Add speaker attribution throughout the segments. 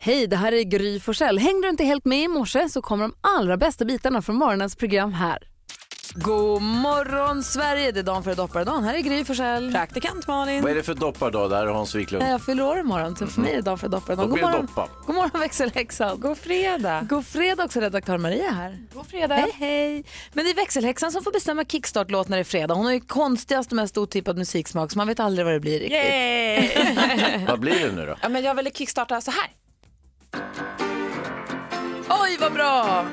Speaker 1: Hej, det här är Gry Forssell. Hängde du inte helt med i morse så kommer de allra bästa bitarna från morgonens program här. God morgon Sverige, det är dagen före dopparedagen. Här är Gry Forssell.
Speaker 2: Praktikant Malin.
Speaker 3: Vad är det för doppardag där Hans Wiklund?
Speaker 1: Jag fyller år imorgon, så för mig är det dagen före dopparedagen. God
Speaker 3: Då blir det
Speaker 1: morgon,
Speaker 3: doppa.
Speaker 1: God morgon växelhäxan.
Speaker 2: God fredag.
Speaker 1: God fredag också, redaktör Maria här.
Speaker 2: God fredag.
Speaker 1: Hej, hej. Men det är växelhäxan som får bestämma kickstart-låt när det är fredag. Hon har ju konstigast och mest otippad musiksmak så man vet aldrig vad det blir riktigt.
Speaker 3: Vad blir det nu då?
Speaker 2: ja, men jag ville kickstarta så här.
Speaker 1: Oj, vad bra!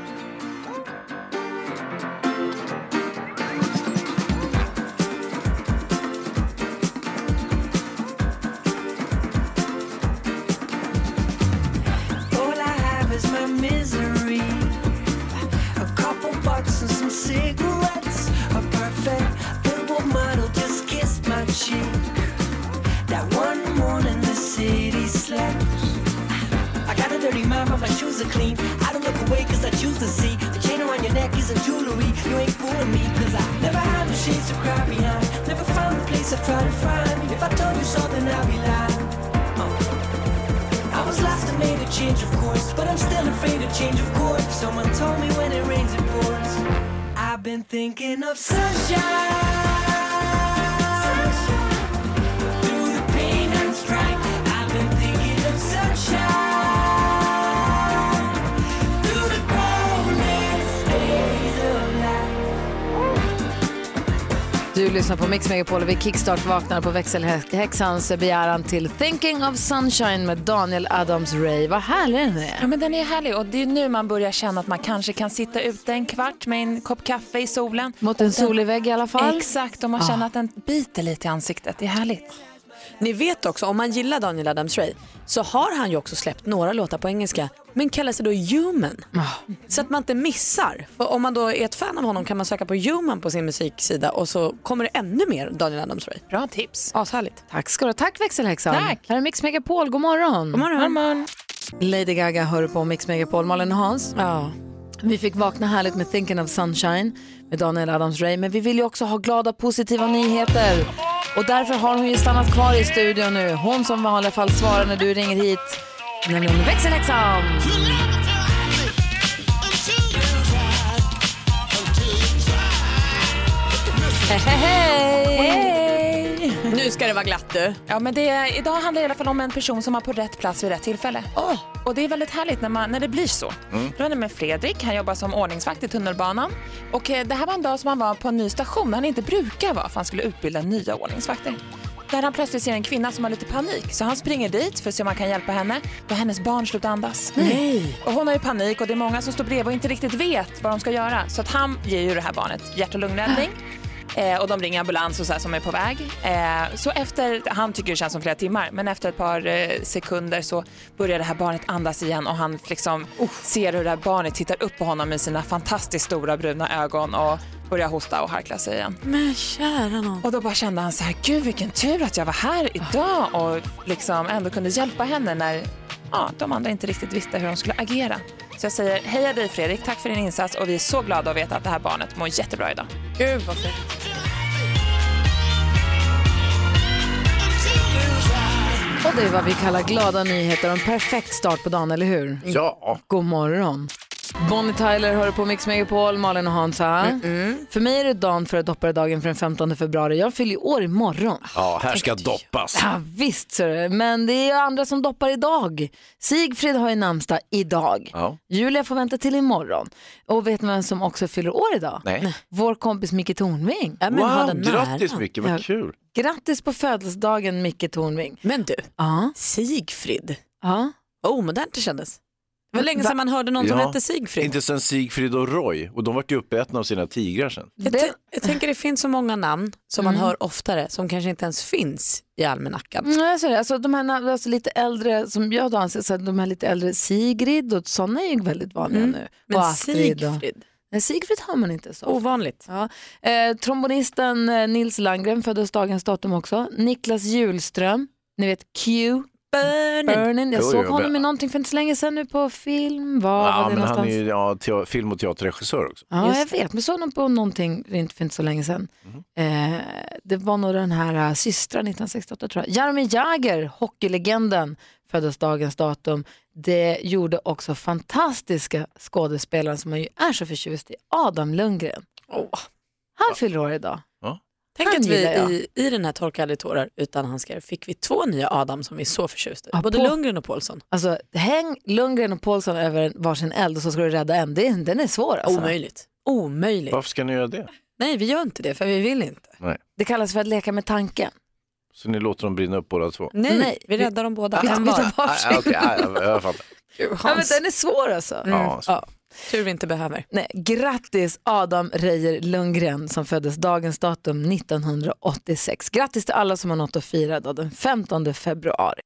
Speaker 4: All I have is my misery. A couple bucks and some cigarettes. A perfect billboard model just kissed my cheek. That one morning the city slept. I got a dirty mind, but my shoes are clean. I don't look away cause I choose to see. The chain around your neck isn't jewelry. You ain't fooling me cause I never had the shades to cry behind. Never found the place I tried to find. If I told you so, then I'd be lying. Uh. I was lost and made a change of course, but I'm still afraid to change of course. Someone told me when it rains it pours. I've been thinking of sunshine. Through the pain and strife, I've been thinking of sunshine. Through the coldest days of life.
Speaker 1: Du lyssnar på Mix Megapol och vi kickstart vaknar på växelhäxans begäran till Thinking of Sunshine med Daniel Adams-Ray. Vad härlig den är.
Speaker 2: Ja, men den är härlig och det är nu man börjar känna att man kanske kan sitta ute en kvart med en kopp kaffe i solen.
Speaker 1: Mot en solig vägg i alla fall. Ah.
Speaker 2: Exakt, och man känner att den biter lite i ansiktet. Det är härligt.
Speaker 5: Ni vet också, om man gillar Daniel Adams-Ray så har han ju också släppt några låtar på engelska men kallar sig då Human.
Speaker 1: Ah.
Speaker 5: Så att man inte missar. För om man då är ett fan av honom kan man söka på Human på sin musiksida och så kommer det ännu mer Daniel Adams-Ray.
Speaker 2: Bra tips.
Speaker 5: Ashärligt.
Speaker 1: Tack ska du ha. Tack växelhäxan.
Speaker 2: Tack.
Speaker 1: Här är Mix Megapol. God morgon. God
Speaker 5: morgon. God
Speaker 1: Lady Gaga hör du på Mix Megapol. Malin och Hans.
Speaker 5: Ja.
Speaker 1: Vi fick vakna härligt med Thinking of Sunshine med Daniel Adams-Ray. Men vi vill ju också ha glada, positiva nyheter. Och därför har hon ju stannat kvar i studion nu. Hon som i alla fall svarar när du ringer hit. Nämligen växelhäxan. Hej!
Speaker 5: Nu ska det vara glatt du.
Speaker 2: Ja, men det är, idag handlar det i alla fall om en person som var på rätt plats vid rätt tillfälle. Och det är väldigt härligt när, man, när det blir så. Det var nämligen Fredrik, han jobbar som ordningsvakt i tunnelbanan. Och eh, det här var en dag som han var på en ny station där han inte brukar vara för han skulle utbilda nya ordningsvakter. Där han plötsligt ser en kvinna som har lite panik så han springer dit för att se om han kan hjälpa henne då hennes barn slutar andas. Nej. Och hon har ju panik och det är många som står bredvid och inte riktigt vet vad de ska göra. Så att han ger ju det här barnet hjärt och lungräddning. Eh, och de ringer ambulans och så här som är på väg. Eh, så efter, han tycker det känns som flera timmar, men efter ett par eh, sekunder så börjar det här barnet andas igen och han liksom ser hur det här barnet tittar upp på honom med sina fantastiskt stora bruna ögon och börjar hosta och harkla sig igen.
Speaker 5: Men kära nån.
Speaker 2: Och då bara kände han så här, gud vilken tur att jag var här idag och liksom ändå kunde hjälpa henne när ja, de andra inte riktigt visste hur de skulle agera. Så jag säger, heja dig Fredrik, tack för din insats och vi är så glada att veta att det här barnet mår jättebra idag.
Speaker 5: Gud vad fint.
Speaker 1: Och det är vad vi kallar glada nyheter och en perfekt start på dagen, eller hur?
Speaker 3: Ja,
Speaker 1: God morgon. Bonnie Tyler hör på Mix Megapol, Malin och Hans här. För mig är det dagen före dopparedagen för den 15 februari. Jag fyller ju år imorgon.
Speaker 3: ja här ska doppas.
Speaker 1: Ja, visst, ser du. men det är ju andra som doppar idag. Sigfrid har ju namnsdag idag.
Speaker 3: Ja.
Speaker 1: Julia får vänta till imorgon. Och vet ni vem som också fyller år idag?
Speaker 3: Nej.
Speaker 1: Vår kompis Micke Tornving.
Speaker 5: Ja, men ha
Speaker 3: Wow,
Speaker 5: den
Speaker 3: grattis
Speaker 5: nära.
Speaker 3: mycket, vad kul.
Speaker 1: Grattis på födelsedagen Micke Tornving.
Speaker 5: Men du,
Speaker 1: Ja,
Speaker 5: Sigfrid.
Speaker 1: ja.
Speaker 5: Vad omodernt det kändes. Det var länge sedan man hörde någon som
Speaker 3: Ja.
Speaker 5: hette Sigfrid.
Speaker 3: Inte sen Sigfrid och Roy och de vart ju uppätna av sina tigrar sen.
Speaker 5: Jag,
Speaker 1: Det-
Speaker 5: tän- jag tänker det finns så många namn som
Speaker 2: Mm.
Speaker 5: man hör oftare som kanske inte ens finns i almanackan.
Speaker 1: Mm, jag ser det. Alltså, de här na- alltså, lite äldre, som jag då anser, så här, de här lite äldre Sigrid och sådana är ju väldigt vanliga nu.
Speaker 5: Mm. Men
Speaker 1: och Astrid. och-
Speaker 5: Sigfrid,
Speaker 1: Nej, Sigfrid har man inte så.
Speaker 5: ovanligt.
Speaker 1: Ja. Eh, trombonisten eh, Nils Landgren föddes dagens datum också. Niklas Julström, ni vet Q,
Speaker 5: Burning.
Speaker 1: Burning. Jag
Speaker 3: Jo,
Speaker 1: såg
Speaker 3: jo,
Speaker 1: honom
Speaker 3: men-
Speaker 1: i någonting för inte så länge sedan nu på film. Var
Speaker 3: Ja,
Speaker 1: var det
Speaker 3: men han
Speaker 1: någonstans?
Speaker 3: är ju ja, te- film och teaterregissör också.
Speaker 1: Ja, jag
Speaker 5: Just
Speaker 1: vet. Men såg honom på någonting inte för inte så länge sedan. Eh, det var nog den här uh, systrar 1968 tror jag. Jaromir Jagr, hockeylegenden, födelsedagens datum. Det gjorde också fantastiska skådespelaren som man ju är så förtjust i, Adam Lundgren. Han fyller år idag.
Speaker 5: Tänk
Speaker 1: Han
Speaker 5: att vi
Speaker 1: gillar jag.
Speaker 5: i, i den här Torka aldrig tårar utan handskar fick vi två nya Adam som vi är så förtjusta i.
Speaker 1: Ja,
Speaker 5: Både
Speaker 1: på-
Speaker 5: Lundgren och Paulsson.
Speaker 1: Alltså, häng Lundgren och Paulsson över en- varsin eld och så ska du rädda en. Det, den är svår alltså.
Speaker 5: Omöjligt. Omöjligt.
Speaker 3: Varför ska ni göra det?
Speaker 5: Nej, vi gör inte det för vi vill inte.
Speaker 3: Nej.
Speaker 1: Det kallas för att leka med tanken.
Speaker 3: Så ni låter dem brinna upp båda två?
Speaker 5: Nej,
Speaker 1: Nej,
Speaker 5: vi räddar dem båda.
Speaker 1: Vi tar
Speaker 5: Kan vara.
Speaker 1: varsin.
Speaker 3: Ah, okej, ah, jag, jag fattar.
Speaker 1: Ja, men den är svår alltså.
Speaker 3: Ja, så-
Speaker 5: Tur vi inte behöver.
Speaker 1: Nej, grattis Adam Reijer Lundgren som föddes dagens datum 1986. Grattis till alla som har något att fira då, den 15 februari.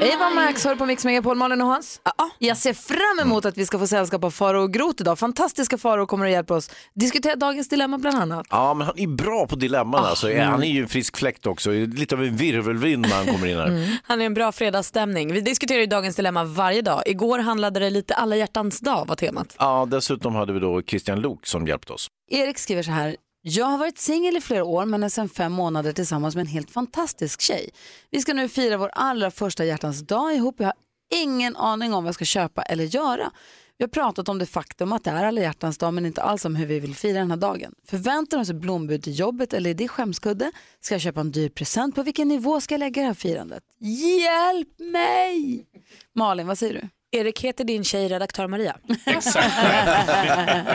Speaker 1: Hej vad Max, hör på Mix Megapol, Malin och Hans. Jag ser fram emot att vi ska få sällskap av Faro och Groth idag. Fantastiska Faro kommer att hjälpa oss diskutera dagens dilemma bland annat.
Speaker 3: Ja, men han är bra på dilemman alltså. Han är ju en frisk fläkt också. Lite av en virvelvind när han kommer in här.
Speaker 6: Mm.
Speaker 1: Mm.
Speaker 5: Han är en bra fredagsstämning. Vi diskuterar ju dagens dilemma varje dag. Igår handlade det lite alla hjärtans dag var temat.
Speaker 3: Ja, dessutom hade vi då Christian Lok som hjälpte oss.
Speaker 1: Erik skriver så här. Jag har varit singel i flera år men är sedan fem månader tillsammans med en helt fantastisk tjej. Vi ska nu fira vår allra första hjärtans dag ihop. Jag har ingen aning om vad jag ska köpa eller göra. Vi har pratat om det faktum att det är alla hjärtans dag men inte alls om hur vi vill fira den här dagen. Förväntar de sig blombud till jobbet eller är det skämskudde? Ska jag köpa en dyr present? På vilken nivå ska jag lägga det här firandet? Hjälp mig! Malin, vad säger du?
Speaker 5: Erik heter din tjej redaktör Maria.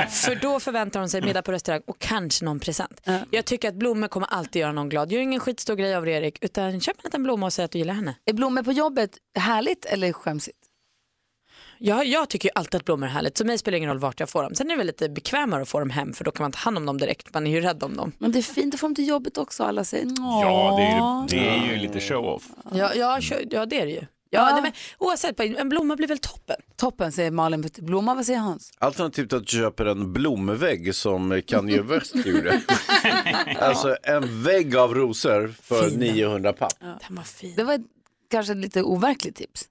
Speaker 5: För då förväntar hon sig middag på restaurang och kanske någon present. Jag tycker att blommor kommer alltid göra någon glad. Gör ingen skitstor grej av det Erik utan köp en liten blomma och säg att du gillar henne.
Speaker 1: Är blommor på jobbet härligt eller skämsigt?
Speaker 5: Jag, jag tycker ju alltid att blommor är härligt så mig spelar det ingen roll vart jag får dem. Sen är det väl lite bekvämare att få dem hem för då kan man ta hand om dem direkt. Man är ju rädd om dem.
Speaker 1: Men det är fint att få dem till jobbet också. Alla säger
Speaker 7: Ja, det är,
Speaker 1: "Åh."
Speaker 7: ju, det är ju lite show-off.
Speaker 5: Ja, ja, kö- ja det är det ju. Ja,
Speaker 1: Ja.
Speaker 5: Nej, men, oavsett, en blomma blir väl toppen.
Speaker 1: Toppen säger Malin Blomman, vad säger Hans?
Speaker 3: Alternativt att du köper en blomvägg som Kanye West gjorde. alltså en vägg av rosor för 900 papp.
Speaker 5: Den var fin.
Speaker 1: Det var ett, kanske ett lite overkligt tips.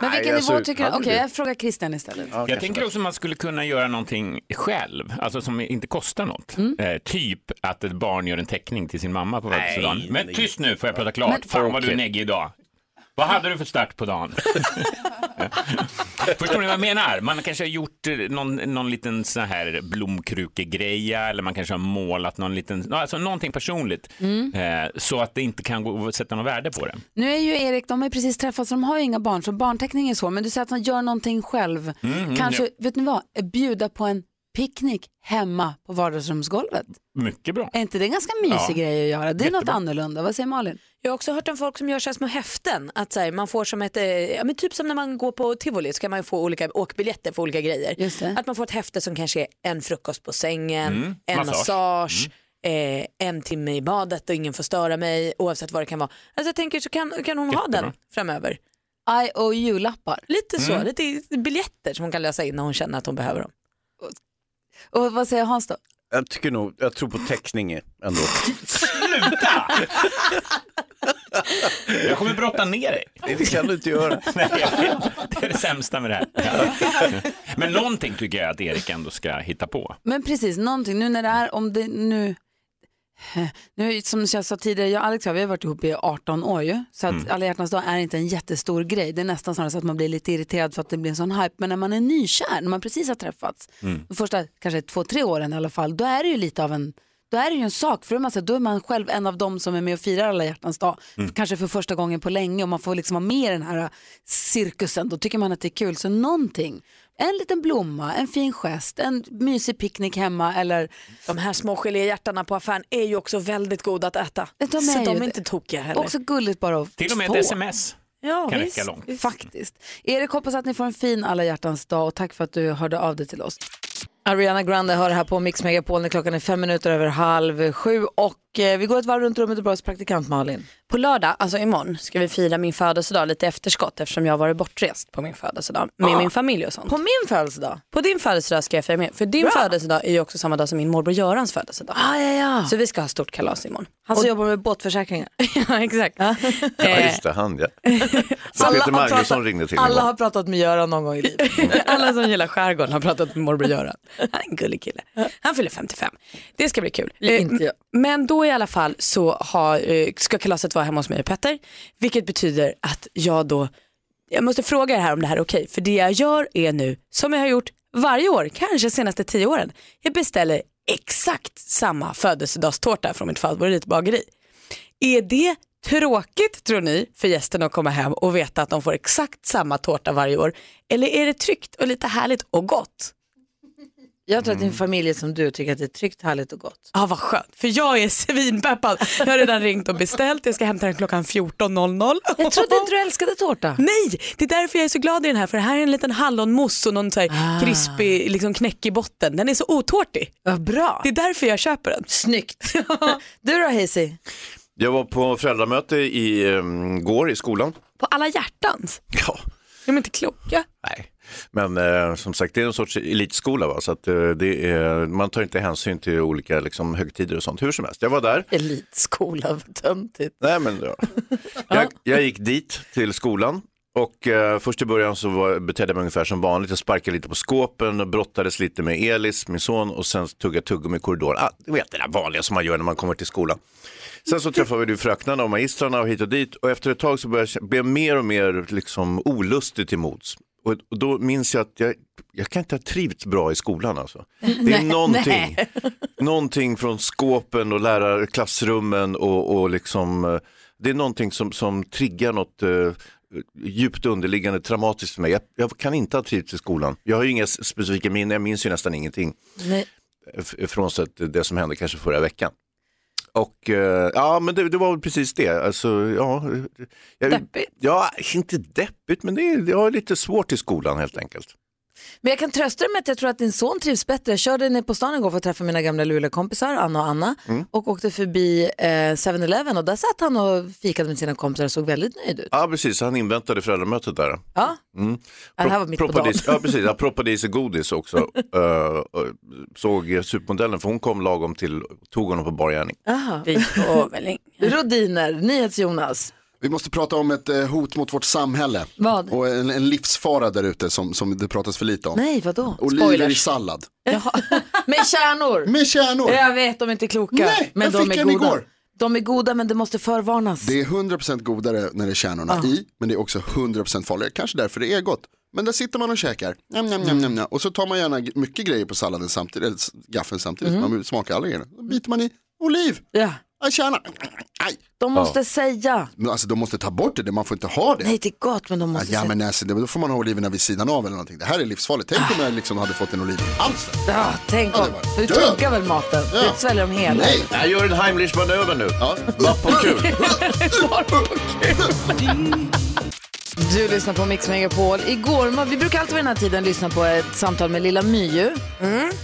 Speaker 1: Men vilken nivå tycker du? Okej, jag frågar Christian istället.
Speaker 7: Jag tänker också att man skulle kunna göra någonting själv, alltså som inte kostar något. Eh, typ att ett barn gör en teckning till sin mamma på födelsedagen. Men tyst nu, får jag prata klart. Fan vad du är neggig idag. Vad hade du för start på dagen? Förstår ni vad jag menar? Man kanske har gjort eh, någon, någon liten sån här blomkrukegreja eller man kanske har målat någon liten, ja, alltså någonting personligt eh, så att det inte kan gå att sätta något värde på det.
Speaker 1: Nu är ju Erik, de har ju precis träffats, de har ju inga barn, så barnteckning är så, men du säger att han gör någonting själv. kanske, vet ni vad, bjuda på en picknick hemma på vardagsrumsgolvet.
Speaker 7: Mycket bra.
Speaker 1: Är inte det en ganska mysig
Speaker 7: Ja.
Speaker 1: grej att göra? Det är något annorlunda. Vad säger Malin?
Speaker 5: Jag har också hört om folk som gör så här små häften. Att så här, man får som ett, eh, ja, men typ som när man går på tivoli så kan man ju få olika åkbiljetter för olika grejer.
Speaker 1: Just det.
Speaker 5: Att man får ett häfte som kanske är en frukost på sängen,
Speaker 7: Mm,
Speaker 5: en massage,
Speaker 7: massage. Mm.
Speaker 5: eh, en timme i badet och ingen får störa mig oavsett vad det kan vara. Alltså jag tänker så kan, kan hon ha
Speaker 7: Jättebra. Mm.
Speaker 5: den framöver.
Speaker 1: IOU-lappar.
Speaker 5: Lite så, lite biljetter som hon kan lösa in när hon känner att hon behöver dem.
Speaker 1: Och vad säger Hans då?
Speaker 3: Jag tycker nog, jag tror på teckning ändå.
Speaker 7: Sluta! Jag kommer brotta ner dig.
Speaker 3: det kan du inte göra.
Speaker 7: Nej, jag vet. Det är det sämsta med det här. Ja. Men någonting tycker jag att Erik ändå ska hitta på.
Speaker 1: Men precis, någonting. Nu när det är, om det nu... Nu, som jag sa tidigare, jag och Alex har, vi har varit ihop i 18 år ju, så att alla hjärtans dag är inte en jättestor grej. Det är nästan snarare så att man blir lite irriterad för att det blir en sån hype. Men när man är nykär, när man precis har träffats,
Speaker 3: Mm.
Speaker 1: de första kanske två, tre åren i alla fall, då är det ju lite av en, då är det ju en sak. För då är man, så här, då är man själv en av dem som är med och firar alla hjärtans dag,
Speaker 7: Mm.
Speaker 1: kanske för första gången på länge och man får liksom vara med i den här äh, cirkusen, då tycker man att det är kul. Så någonting, en liten blomma, en fin gest, en mysig picknick hemma eller
Speaker 5: De här små geléhjärtarna på affären är ju också väldigt goda att äta.
Speaker 1: De är
Speaker 5: så
Speaker 1: ju
Speaker 5: de är
Speaker 1: det.
Speaker 5: inte tokiga heller.
Speaker 1: också gulligt bara att
Speaker 7: Till och med
Speaker 1: få.
Speaker 7: ett sms
Speaker 5: ja,
Speaker 7: kan
Speaker 5: visst.
Speaker 7: räcka långt.
Speaker 1: Faktiskt. Erik, hoppas att ni får en fin alla hjärtans dag och tack för att du hörde av dig till oss. Ariana Grande hör här på Mix Megapol när klockan är fem minuter över halv sju och eh, vi går ett varv runt rummet och börjar hos praktikant Malin.
Speaker 6: På lördag, alltså imorgon, ska vi fira min födelsedag lite efterskott eftersom jag har varit bortrest på min födelsedag med min familj och sånt.
Speaker 1: På min födelsedag.
Speaker 6: På din födelsedag ska jag fira med, för din födelsedag är ju också samma dag som min morbror Görans födelsedag.
Speaker 1: Ah, ja, ja.
Speaker 6: Så vi ska ha stort kalas imorgon.
Speaker 1: Han som jobbar med båtförsäkringar.
Speaker 6: ja, exakt.
Speaker 3: Ja,
Speaker 6: Eh,
Speaker 3: just det, han ja. Så Peter
Speaker 1: har
Speaker 3: Magnusson
Speaker 1: pratat-
Speaker 3: ringde till
Speaker 1: alla
Speaker 3: mig.
Speaker 1: har pratat med Göran någon gång i livet.
Speaker 6: Alla som gillar skärgården har pratat med morbror Göran. Han är en gullig kille. Han fyller 55. Det ska bli kul. Eh,
Speaker 1: Inte jag.
Speaker 6: Men då i alla fall så har, eh, ska kalaset vara hemma hos mig och Petter. Vilket betyder att jag då jag måste fråga er här om det här är okej. För det jag gör är nu, som jag har gjort varje år, kanske senaste tio åren, jag beställer exakt samma födelsedagstårta från mitt favoritbageri. Är det tråkigt tror ni för gästerna att komma hem och veta att de får exakt samma tårta varje år? Eller är det tryggt och lite härligt och gott?
Speaker 1: Jag tror att
Speaker 7: Mm.
Speaker 1: din familj är som du tycker att det är tryggt, härligt och gott.
Speaker 6: Ja, ah, vad skönt, för jag är svinpeppad. Jag har redan ringt och beställt, jag ska hämta den klockan 14.00.
Speaker 1: Jag trodde inte du älskade tårta.
Speaker 6: Nej, det är därför jag är så glad i den här, för det här är en liten hallonmousse och någon så här krispig liksom knäck i botten. Den är så otårtig.
Speaker 1: Ah. Vad bra.
Speaker 6: Det är därför jag köper den.
Speaker 1: Snyggt. du då Hazy?
Speaker 3: Jag var på föräldramöte i um, går i skolan.
Speaker 6: På alla hjärtans.
Speaker 3: Ja,
Speaker 6: De är inte kloka.
Speaker 3: nej. Men eh, som sagt, det är en sorts elitskola, va? så att, eh, det är, man tar inte hänsyn till olika liksom, högtider och sånt. Hur som helst, jag var där.
Speaker 1: Elitskola, vad töntigt.
Speaker 3: Nej, men, ja. jag, jag gick dit till skolan och eh, först i början så var, betedde jag mig ungefär som vanligt. Jag sparkade lite på skåpen och brottades lite med Elis, min son, och sen tuggade tuggummi i korridoren. Ah, du vet det där vanliga som man gör när man kommer till skolan. Sen så träffade vi fröknarna och magistrarna och hit och dit och efter ett tag så började jag, blev jag mer och mer liksom olustig till mods. Och, och då minns jag att jag, jag kan inte ha trivts bra i skolan alltså. Det är någonting, någonting från skåpen och lärar, klassrummen och, och liksom, eh, det är någonting som, som triggar något eh, djupt underliggande traumatiskt för mig. Jag, jag kan inte ha trivts i skolan. Jag har ju inga s- specifika minnen, jag minns ju nästan ingenting.
Speaker 1: Nej.
Speaker 3: F- Frånsett det som hände kanske förra veckan. Och eh, ja, men det, det var väl precis det. Alltså, ja, jag,
Speaker 1: Deppigt.
Speaker 3: Ja, inte deppigt, men det är, jag har lite svårt i skolan helt enkelt.
Speaker 1: Men jag kan trösta dig med att jag tror att din son trivs bättre. Jag körde ner på stan igår för att träffa mina gamla Luleåkompisar, Anna och Anna,
Speaker 8: Mm.
Speaker 1: och åkte förbi eh, 7-Eleven och där satt han och fikade med sina kompisar och såg väldigt nöjd ut.
Speaker 3: Ja, precis. Han inväntade föräldramötet där.
Speaker 1: Ja,
Speaker 3: Mm.
Speaker 1: Ja, det här
Speaker 3: Pro-
Speaker 1: var mitt på
Speaker 3: propadis-
Speaker 1: dagen.
Speaker 3: Ja, precis. Jag proppade i sig godis också. Eh, och såg supermodellen, för hon kom lagom till, tog honom på bar gärning.
Speaker 1: Aha.
Speaker 6: Vi får väl in-
Speaker 1: Rodiner, NyhetsJonas.
Speaker 8: Vi måste prata om ett eh, hot mot vårt samhälle.
Speaker 1: Vad?
Speaker 8: Och en, en livsfara där ute som, som det pratas för lite om.
Speaker 1: Nej, vadå?
Speaker 8: Oliver i
Speaker 1: Spoilers.
Speaker 8: sallad.
Speaker 1: Med kärnor.
Speaker 8: Med kärnor.
Speaker 1: Jag vet, de är inte kloka.
Speaker 8: Nej,
Speaker 1: men
Speaker 8: jag
Speaker 1: de
Speaker 8: fick
Speaker 1: är
Speaker 8: en
Speaker 1: goda.
Speaker 8: igår.
Speaker 1: De är goda men det måste förvarnas.
Speaker 8: Det är 100% godare när det är kärnorna
Speaker 1: Ah.
Speaker 8: i, men det är också 100% farligare. Kanske därför det är gott. Men där sitter man och käkar, njam, njam, njam, njam, njam. och så tar man gärna g- mycket grejer på salladen samtidigt, eller s- gaffeln samtidigt,
Speaker 1: Mm.
Speaker 8: man vill smaka alla grejerna. Då biter man i, oliv,
Speaker 1: Ja.
Speaker 8: aj, kärna, aj.
Speaker 1: De måste säga.
Speaker 8: Men alltså de måste ta bort det, man får inte ha det.
Speaker 1: Nej, det är gott men de måste
Speaker 8: Ja
Speaker 1: säga.
Speaker 8: men alltså, det- då får man ha oliverna vid sidan av eller någonting. Det här är livsfarligt. Tänk om jag liksom hade fått en oliv i halsen.
Speaker 1: Ah, tänk
Speaker 8: Ja,
Speaker 1: om.
Speaker 8: det var
Speaker 1: Du
Speaker 8: död.
Speaker 1: tuggar väl maten?
Speaker 8: Ja.
Speaker 1: Du sväljer dem hela.
Speaker 8: Nej.
Speaker 3: Jag gör en Heimlich-manöver nu.
Speaker 8: Ja.
Speaker 3: Upp och kul.
Speaker 1: Du lyssnar på Mix Megapol. Igår, man- vi brukar alltid vid den här tiden lyssna på ett samtal med lilla My. ju.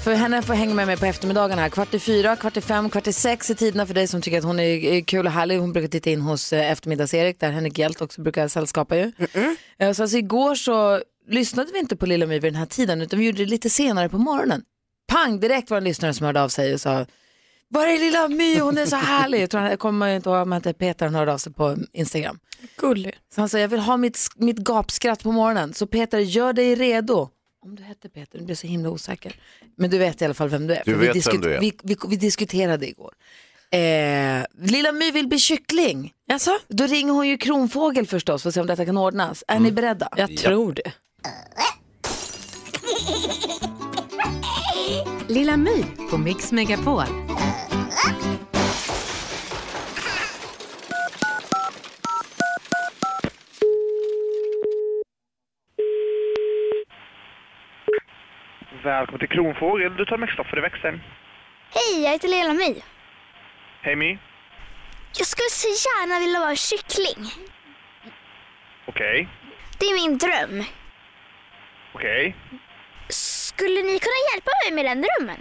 Speaker 1: För henne får hänga med mig på eftermiddagen här. Kvart i fyra, kvart i fem, kvart i sex är tiderna för dig som tycker att hon är är kul och härlig. Hon brukar titta in hos eh, eftermiddags-Erik där Henrik Hjelt också brukar sällskapa ju. Eh, Så alltså igår så lyssnade vi inte på lilla My vid den här tiden utan vi gjorde det lite senare på morgonen. Pang, direkt var en lyssnare som hörde av sig och sa var är lilla My? Hon är så härlig. Jag tror han, jag kommer inte ihåg om han hette Peter, han hörde av sig på Instagram.
Speaker 6: Gullig.
Speaker 1: Så han sa, jag vill ha mitt, sk- mitt gapskratt på morgonen. Så Peter, gör dig redo. Om du hette Peter, nu blir jag så himla osäker. Men du vet i alla fall vem du är.
Speaker 3: Du
Speaker 1: För
Speaker 3: vet
Speaker 1: vi
Speaker 3: vem du är.
Speaker 1: Vi, vi, vi diskuterade igår. Eh, Lilla My vill bli kyckling.
Speaker 6: Jaså?
Speaker 1: Då ringer hon ju Kronfågel förstås för att se om detta kan ordnas. Är
Speaker 3: Mm.
Speaker 1: ni beredda?
Speaker 6: Jag tror det.
Speaker 9: Lilla My på Mix Megapol.
Speaker 10: Välkommen till Kronfågel. Du tar med Kristoffer i växeln.
Speaker 11: Hej, jag heter Lela My.
Speaker 10: Hej My.
Speaker 11: Jag skulle så gärna vilja vara kyckling.
Speaker 10: Okej.
Speaker 11: Det är min dröm.
Speaker 10: Okej.
Speaker 11: Skulle ni kunna hjälpa mig med den drömmen?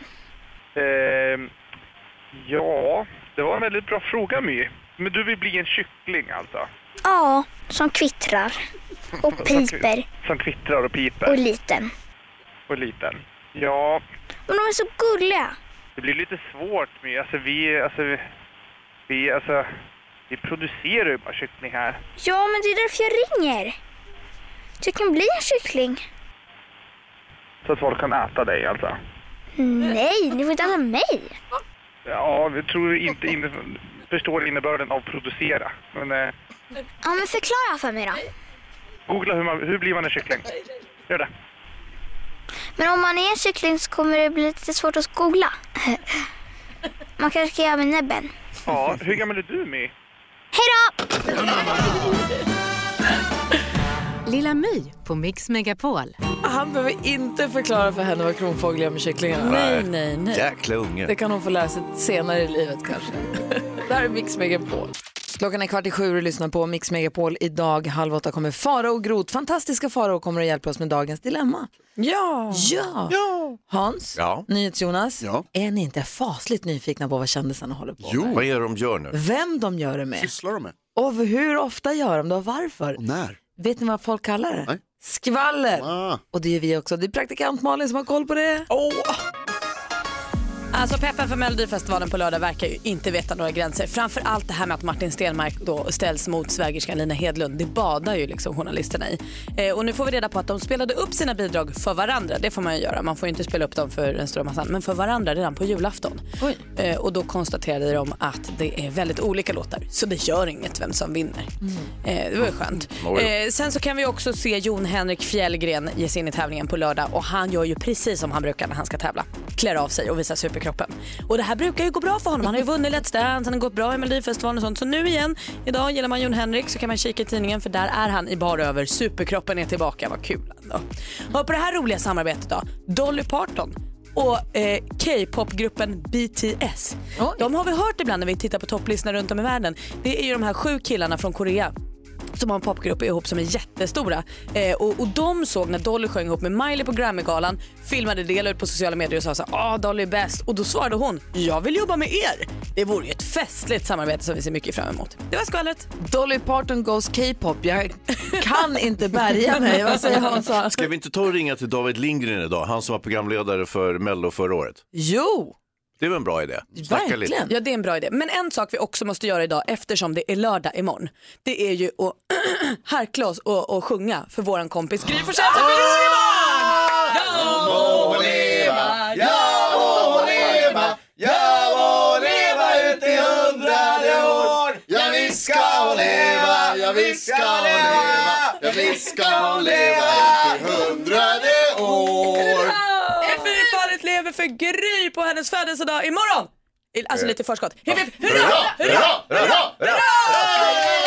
Speaker 10: Ehm, ja, det var en väldigt bra fråga My. Men du vill bli en kyckling alltså?
Speaker 11: Ja, som kvittrar. Och piper.
Speaker 10: Som kvittrar och
Speaker 11: Och
Speaker 10: piper
Speaker 11: liten.
Speaker 10: och liten. Ja,
Speaker 11: Men de är så gulliga.
Speaker 10: det blir lite svårt My. Alltså vi, alltså vi, vi, alltså, vi producerar ju bara kyckling här.
Speaker 11: Ja, men det är därför jag ringer. Du kan bli en kyckling.
Speaker 10: Så att folk kan äta dig alltså.
Speaker 11: Nej, ni får inte äta mig.
Speaker 10: Ja, vi tror inte inne, förstår innebörden av producera. Men eh,
Speaker 11: Ja, men förklara för mig då.
Speaker 10: Googla hur, man, hur blir man en kyckling. Gör det.
Speaker 11: Men om man är en kyckling så kommer det bli lite svårt att skola. Man kanske kan göra med näbben.
Speaker 10: Ja, hur gammal är du My?
Speaker 11: Hej då!
Speaker 9: Lilla My på Mix Megapol.
Speaker 1: Han behöver inte förklara för henne vad kronfågel gör med kycklingarna. Nej, nej, nej.
Speaker 3: Jäkla unge.
Speaker 1: Det kan hon få lära sig senare i livet kanske. Där är Mix Megapol. Klockan är kvart i sju och du lyssnar på Mix Megapol. Idag halv åtta kommer Faro och Grot. Fantastiska Faro kommer att hjälpa oss med dagens dilemma.
Speaker 5: Ja!
Speaker 1: Ja! Hans,
Speaker 3: Ja.
Speaker 1: NyhetsJonas, är ni inte fasligt nyfikna på vad kändisarna håller på med?
Speaker 3: Vad är det de gör nu?
Speaker 1: Vem de gör det med
Speaker 8: Sysslar de med?
Speaker 1: och hur ofta gör de det och varför?
Speaker 8: när?
Speaker 1: Vet ni vad folk kallar det? Skvaller! Och det är vi också. Det är praktikant Malin som har koll på det.
Speaker 6: Alltså peppen för Melodifestivalen på lördag verkar ju inte veta några gränser. Framför allt det här med att Martin Stenmark då ställs mot svägerskan Lina Hedlund. Det badar ju liksom journalisterna i. Eh, och nu får vi reda på att de spelade upp sina bidrag för varandra. Det får man ju göra. Man får ju inte spela upp dem för den stora massan. Men för varandra redan på julafton. Eh, och då konstaterade de att det är väldigt olika låtar. Så det gör inget vem som vinner. Eh, det var ju skönt.
Speaker 4: Oj.
Speaker 6: Eh, sen så kan vi också se Jon Henrik Fjällgren ge sig in i tävlingen på lördag och han gör ju precis som han brukar när han ska tävla. Klär av sig och visar superkroppen. Och det här brukar ju gå bra för honom. Han har ju vunnit Let's Dance, han har gått bra i Melodifestivalen och sånt. Så nu igen, idag gillar man Jon Henrik så kan man kika i tidningen för där är han i bar över. Superkroppen är tillbaka, vad kul ändå. Och på det här roliga samarbetet då, Dolly Parton och eh, K-popgruppen BTS. De har vi hört ibland när vi tittar på topplistorna runt om i världen. Det är ju de här sju killarna från Korea som har en popgrupp ihop som är jättestora. Eh, och, och de såg när Dolly sjöng ihop med Miley på Grammygalan, filmade det, la ut på sociala medier och sa så här, ah Dolly är bäst. Och då svarade hon, jag vill jobba med er. Det vore ju ett festligt samarbete som vi ser mycket fram emot. Det var skvallret.
Speaker 1: Dolly Parton goes K-pop. Jag kan inte bärga mig. Vad säger Hans?
Speaker 3: Ska vi inte ta och ringa till David Lindgren idag? Han som var programledare för Mello förra året.
Speaker 1: Jo!
Speaker 3: Det är väl en bra idé? Snacka lite.
Speaker 6: Ja, det är en bra idé. Men en sak vi också måste göra idag eftersom det är lördag imorgon. Det är ju att harkla oss och, och sjunga för våran kompis Gry Forssell som fyller år imorgon! Ja!
Speaker 4: må
Speaker 6: leva,
Speaker 4: ja må leva, ja må leva ut i hundrade år. Ja visst ska hon leva, ja visst ska hon leva, ja visst ska hon leva ut i hundrade år.
Speaker 6: Fyfallet lever för Gry på hennes födelsedag imorgon! Alltså lite i förskott. Hipp, hipp, hurra!
Speaker 4: Eh, Hurra, hurra, hurra!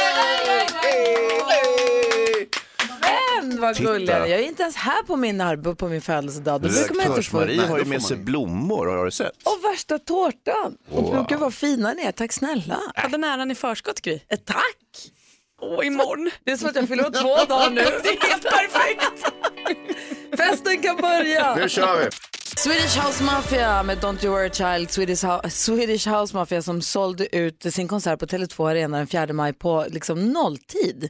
Speaker 1: Men vad
Speaker 3: Titta.
Speaker 1: gulliga ni är. Jag är inte ens här på min, arb- på min födelsedag. Då brukar man inte få...
Speaker 3: Redaktörs-Marie har ju med sig blommor, har du sett?
Speaker 1: Och värsta tårtan!
Speaker 3: Wow.
Speaker 1: Och gud vad fina ni är, tack snälla.
Speaker 6: Hade näran i förskott Gry.
Speaker 1: Tack!
Speaker 6: Och imorgon.
Speaker 1: Det är som att jag fyller år två dagar nu.
Speaker 6: Det är helt perfekt!
Speaker 1: Festen kan börja!
Speaker 4: Nu kör vi.
Speaker 1: Swedish House Mafia med Don't You Worry Child. Swedish, Ho- Swedish House Mafia som sålde ut sin konsert på Tele2 Arena den 4 maj på liksom nolltid.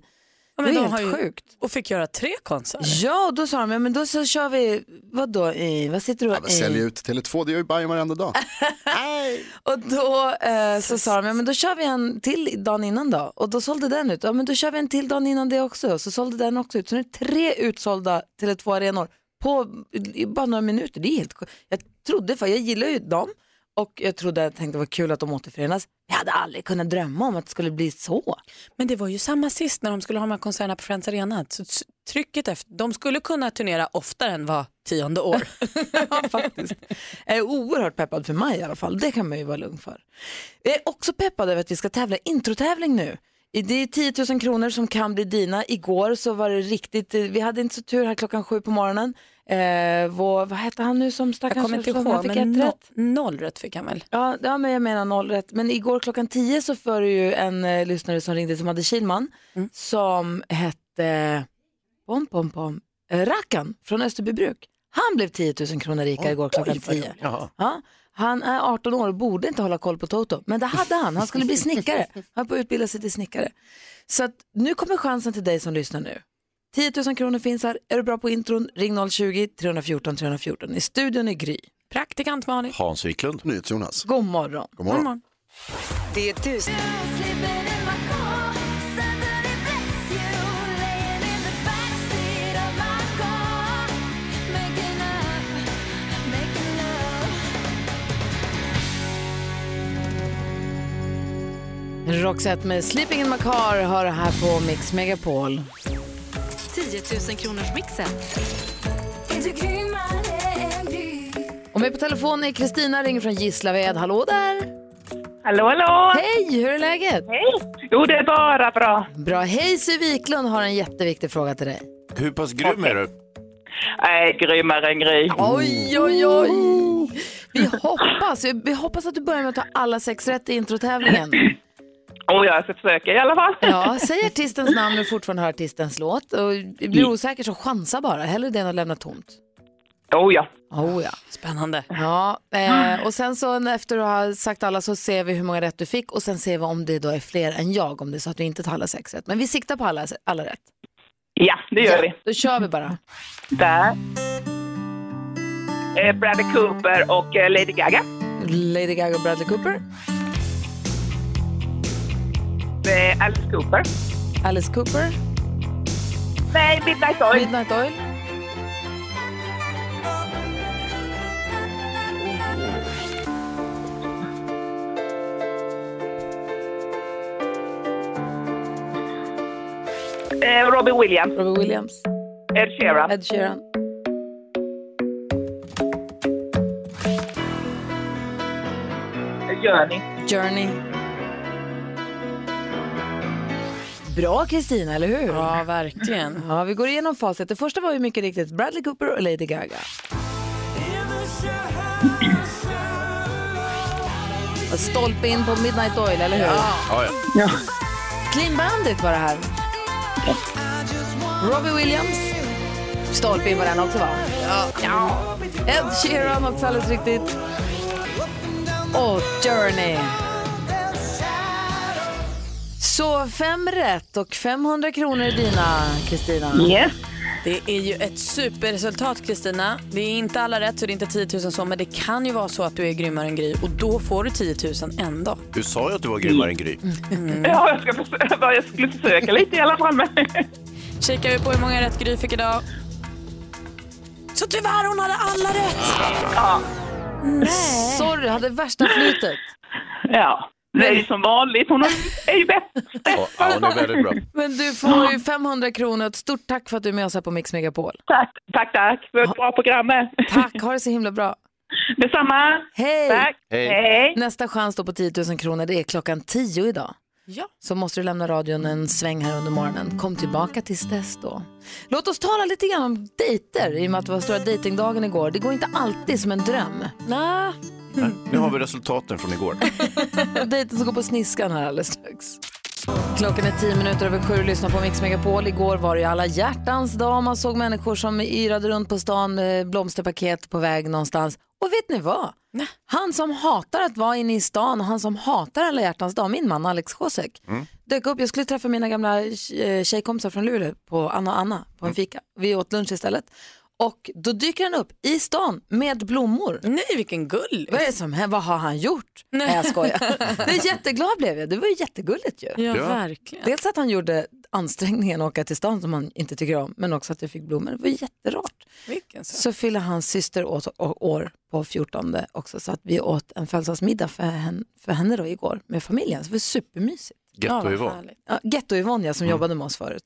Speaker 6: Ja,
Speaker 1: det
Speaker 6: men
Speaker 1: är helt
Speaker 6: de har ju-
Speaker 1: sjukt.
Speaker 6: Och fick göra tre konserter.
Speaker 1: Ja, och då sa de, ja, men då så kör vi, vad då i, vad sitter du
Speaker 8: Ja, men sälj
Speaker 1: i?
Speaker 8: ut Tele2, det gör ju Bajen varenda dag.
Speaker 1: Och då eh, så sa de, ja, men då kör vi en till dagen innan då. Och då sålde den ut. Ja, men då kör vi en till dagen innan det också. Och Så sålde den också ut. Så nu är det tre utsålda Tele2 Arenor på i bara några minuter. Det är helt sjukt. Jag trodde, för jag gillar ju dem. Och jag trodde, jag tänkte det var kul att de återförenas. Jag hade aldrig kunnat drömma om att det skulle bli så.
Speaker 6: Men det var ju samma sist när de skulle ha de här konserterna på Friends Arena. Så s- trycket efter, de skulle kunna turnera oftare än var tionde år.
Speaker 1: Jag är oerhört peppad för maj i alla fall. Det kan man ju vara lugn för. Jag är också peppad över att vi ska tävla introtävling nu. I- Det är 10 000 kronor som kan bli dina. Igår så var det riktigt, eh, vi hade inte så tur här klockan sju på morgonen. Eh, vår, vad hette han nu som stackars
Speaker 6: Jag kommer inte
Speaker 1: som
Speaker 6: ihåg,
Speaker 1: fick
Speaker 6: men
Speaker 1: ett
Speaker 6: no,
Speaker 1: rätt?
Speaker 6: noll rätt fick han väl?
Speaker 1: Ja, ja, men jag menar noll rätt. Men igår klockan 10 så var det ju en eh, lyssnare som ringde som hade Kilman
Speaker 6: Mm.
Speaker 1: som hette pom, pom, pom, eh, Rackan från Österbybruk. Han blev 10 000 kronor rikare igår klockan 10. Ja, han är 18 år och borde inte hålla koll på Toto, men det hade han. Han skulle bli snickare. Han höll på att utbilda sig till snickare. Så att, nu kommer chansen till dig som lyssnar nu. 10 000 kronor finns här. Är du bra på intron, ring 020-314 314. I studion är Gry.
Speaker 6: Praktikant Malin.
Speaker 3: Hans Wiklund.
Speaker 8: NyhetsJonas.
Speaker 1: God morgon.
Speaker 8: God morgon.
Speaker 9: Det är du som-
Speaker 1: Roxette med Sleeping in my car hör här på Mix Megapol.
Speaker 9: 10 000 kronors mixen.
Speaker 1: Och med på telefon är Kristina, ringer från Gislaved. Hallå där!
Speaker 12: Hallå, hallå!
Speaker 1: Hej, hur är läget?
Speaker 12: Hej! Jo, det är bara bra.
Speaker 1: Bra. Hej, Siw Wiklund har en jätteviktig fråga till dig.
Speaker 3: Hur pass grym är du?
Speaker 12: Nej, grymmare än Gry.
Speaker 1: Oj, oj, oj! Vi hoppas, vi hoppas att du börjar med att ta alla sex rätt i introtävlingen.
Speaker 12: Och jag ska försöka i alla fall.
Speaker 1: Ja, säg artistens namn när du fortfarande hör artistens låt. Och blir du osäker så chansa bara. Hellre det än att lämna tomt.
Speaker 12: Oh ja.
Speaker 1: Oh ja.
Speaker 6: Spännande.
Speaker 1: Ja,
Speaker 12: Ah.
Speaker 1: eh, och sen så när- efter du har sagt alla så ser vi hur många rätt du fick och sen ser vi om det då är fler än jag om det är så att du inte tar alla sex rätt. Men vi siktar på alla, alla rätt.
Speaker 12: Ja, det gör vi.
Speaker 1: Då kör vi bara.
Speaker 12: Där. Eh, Bradley Cooper och eh, Lady Gaga.
Speaker 1: Lady Gaga och Bradley Cooper.
Speaker 12: Eh, Alice Cooper.
Speaker 1: Alice Cooper.
Speaker 12: Nej, Midnight Oil.
Speaker 1: Midnight Oil.
Speaker 12: Eh, Robin Williams.
Speaker 1: Robin Williams.
Speaker 12: Ed Sheeran.
Speaker 1: Ed Sheeran.
Speaker 12: Journey.
Speaker 1: Journey. Bra Kristina, eller hur?
Speaker 6: Ja, verkligen.
Speaker 1: Ja, vi går igenom facit. Det första var ju mycket riktigt Bradley Cooper och Lady Gaga. Och Stolpe in på Midnight Oil, eller hur?
Speaker 3: Ja, ja.
Speaker 1: Clean Bandit var det här. Robbie Williams. Stolpe in på den också va? Ja. Ed Sheeran också alldeles riktigt. Och Journey. Så fem rätt och 500 kronor är dina, Kristina.
Speaker 6: Det är ju ett superresultat Kristina. Det är inte alla rätt så det är inte 10 000 så men det kan ju vara så att du är grymmare än Gry och då får du 10 000 ändå. Mm.
Speaker 3: Du sa ju att du var grymmare än Gry.
Speaker 12: Ja, jag, ska försöka, jag skulle försöka lite i alla fall. men-
Speaker 6: Kikar vi på hur många rätt Gry fick idag. Så tyvärr hon hade alla rätt. Nej.
Speaker 1: Sorry, hade värsta flytet.
Speaker 12: Ja, det är ju som vanligt. Hon är ju bäst.
Speaker 3: Ja, ja, hon är väldigt bra.
Speaker 1: Men du får ju 500 kronor. Ett stort tack för att du är med oss här på Mix Megapol.
Speaker 12: Tack, tack, tack för ett bra program med.
Speaker 1: Tack, ha det så himla bra.
Speaker 12: Detsamma.
Speaker 1: Hej!
Speaker 12: Tack.
Speaker 3: Hej.
Speaker 1: Nästa chans då på 10 000 kronor, det är klockan 10 idag.
Speaker 6: Ja.
Speaker 1: Så måste du lämna radion en sväng här under morgonen. Kom tillbaka tills dess då. Låt oss tala lite grann om dejter, i och med att det var stora dejtingdagen igår. Det går inte alltid som en dröm.
Speaker 6: Nej.
Speaker 3: Nej, Nu har vi resultaten från igår.
Speaker 1: Dejten som går på sniskan här alldeles strax. Mm. Klockan är tio minuter över sju och lyssnar på Mix Megapol. Igår var det ju alla hjärtans dag. Man såg människor som yrade runt på stan med blomsterpaket på väg någonstans. Och vet ni vad? Han som hatar att vara inne i stan och han som hatar alla hjärtans dag, min man Alex Kosek,
Speaker 3: Mm.
Speaker 1: dök upp. Jag skulle träffa mina gamla eh, tjejkompisar från Luleå på Anna och Anna på en fika. Vi åt lunch istället. Och då dyker han upp i stan med blommor.
Speaker 6: Nej vilken gull.
Speaker 1: Vad är det som händer? Vad har han gjort? Nej, jag skojar. Det är jätteglad blev jag. Det var ju jättegulligt ju.
Speaker 6: Ja,
Speaker 3: Ja.
Speaker 6: verkligen.
Speaker 1: Dels att han gjorde ansträngningen att åka till stan som han inte tycker om, men också att jag fick blommor. Det var jätterart.
Speaker 6: Vilken sak.
Speaker 1: Så fyller hans syster åt, å- år på 14 också, så att vi åt en födelsedagsmiddag för henne, för henne då igår med familjen. Så det var supermysigt.
Speaker 6: Ja,
Speaker 3: Getto
Speaker 6: vad
Speaker 3: Yvonne.
Speaker 6: härligt.
Speaker 1: Ja, Getto Yvonne ja, som jobbade med oss förut,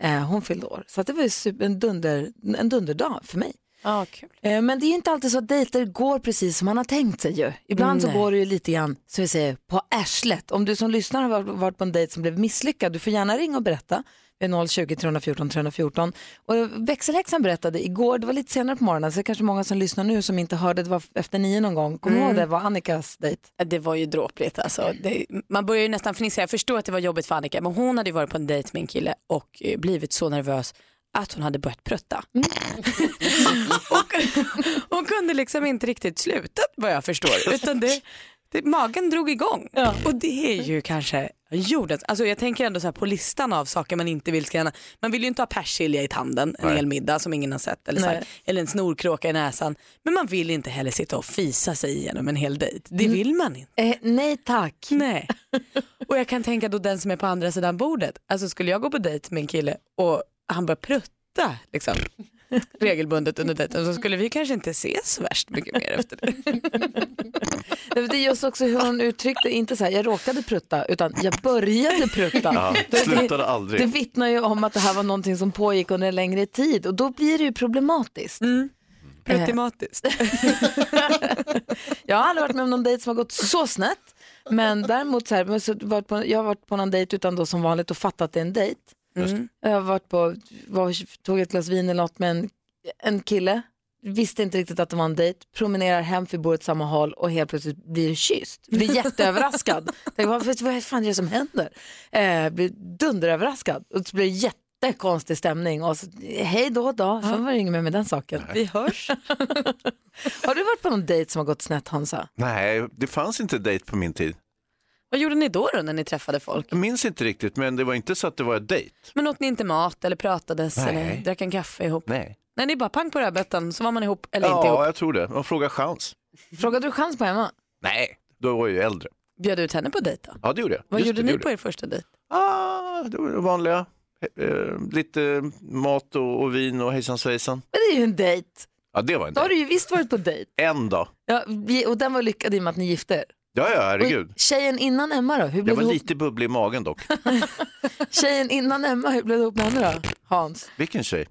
Speaker 1: eh, hon fyllde år. Så att det var ju super, en, dunder, en dunderdag för mig.
Speaker 6: Ja, kul.
Speaker 1: Eh, Men det är ju inte alltid så att dejter går precis som man har tänkt sig ju. Ibland så
Speaker 6: Nej.
Speaker 1: går det ju lite grann, så vi säger, på ärslet. Om du som lyssnar har varit- varit på en dejt som blev misslyckad, du får gärna ringa och berätta. Vi är 020 314 314. Och växelhäxan berättade igår, det var lite senare på morgonen, så det är kanske många som lyssnar nu som inte hörde, det var efter nio någon gång. Kommer du ihåg det var Annikas dejt?
Speaker 6: Mm. Ja, Det var ju dråpligt alltså. Det, man börjar ju nästan fnissa. Jag förstår att det var jobbigt för Annika men hon hade ju varit på en dejt med en kille och eh, blivit så nervös att hon hade börjat prutta. och, hon kunde liksom inte riktigt sluta vad jag förstår. Utan det, det, magen drog igång. Och det är ju kanske jordens, alltså jag tänker ändå så här på listan av saker man inte vill ska hända. Man vill ju inte ha persilja i tanden en hel middag som ingen har sett eller, så här,
Speaker 1: Nej.
Speaker 6: eller en snorkråka i näsan. Men man vill inte heller sitta och fisa sig igenom en hel dejt. Det vill man inte.
Speaker 1: Eh, nej tack.
Speaker 6: Nej. Och jag kan tänka då den som är på andra sidan bordet. Alltså skulle jag gå på dejt med en kille och han börjar prutta liksom. regelbundet under dejten så skulle vi kanske inte ses så värst mycket mer efter det.
Speaker 1: Nej, men Det är just också hur hon uttryckte, inte så här jag råkade prutta, utan jag började prutta.
Speaker 3: Ja,
Speaker 1: Det-
Speaker 3: slutade
Speaker 1: det,
Speaker 3: aldrig.
Speaker 1: det vittnar ju om att det här var någonting som pågick under en längre tid och då blir det ju problematiskt. Mm.
Speaker 6: Problematiskt.
Speaker 1: jag har aldrig varit med om någon dejt som har gått så snett. Men däremot så här, men så varit på, jag har varit på någon dejt utan då som vanligt och fattat att det är en dejt.
Speaker 4: Just
Speaker 6: Mm.
Speaker 1: Jag har varit på, var, tog ett glas vin eller något med en, en kille, visste inte riktigt att det var en dejt, promenerar hem för vi bor åt samma håll och helt plötsligt blir kysst. Blir jätteöverraskad. Tänker, vad, vad fan är det som händer? Eh, blir dunderöverraskad och så blir det jättekonstig stämning och så, hej då då, sen var det inget mer med den saken.
Speaker 6: Vi hörs.
Speaker 1: har du varit på någon dejt som har gått snett Hansa?
Speaker 3: Nej, det fanns inte dejt på min tid.
Speaker 6: Vad gjorde ni då, då när ni träffade folk?
Speaker 3: Jag minns inte riktigt, men det var inte så att det var en dejt.
Speaker 6: Men åt ni inte mat eller pratades
Speaker 3: Nej.
Speaker 6: eller drack en kaffe ihop?
Speaker 3: Nej.
Speaker 6: Nej, ni bara pang på rödbetan så var man ihop eller inte ihop.
Speaker 3: Ja, jag tror det. Man frågar chans.
Speaker 1: Frågade du chans på Emma?
Speaker 3: Nej, då var jag ju äldre.
Speaker 6: Bjöd ut henne på dejt då?
Speaker 3: Ja, det gjorde jag.
Speaker 6: Vad
Speaker 3: Just
Speaker 6: gjorde
Speaker 3: det,
Speaker 6: ni
Speaker 3: det
Speaker 6: på er första dejt?
Speaker 3: Ah, det var det vanliga. Eh, lite mat och, och vin och hejsan svejsan.
Speaker 1: Men det är ju en dejt.
Speaker 3: Ja, det var en
Speaker 1: Då har
Speaker 3: dejt.
Speaker 1: du ju visst varit på dejt.
Speaker 3: En dag.
Speaker 1: Ja, vi- och den var lyckad i och med att ni gifte er.
Speaker 3: Ja, ja, herregud.
Speaker 1: Och tjejen innan Emma då? Hur
Speaker 3: Jag
Speaker 1: blev
Speaker 3: var
Speaker 1: du ihop?
Speaker 3: lite bubblig i magen dock.
Speaker 1: Tjejen innan Emma, hur blev du ihop med henne då? Hans.
Speaker 3: Vilken tjej?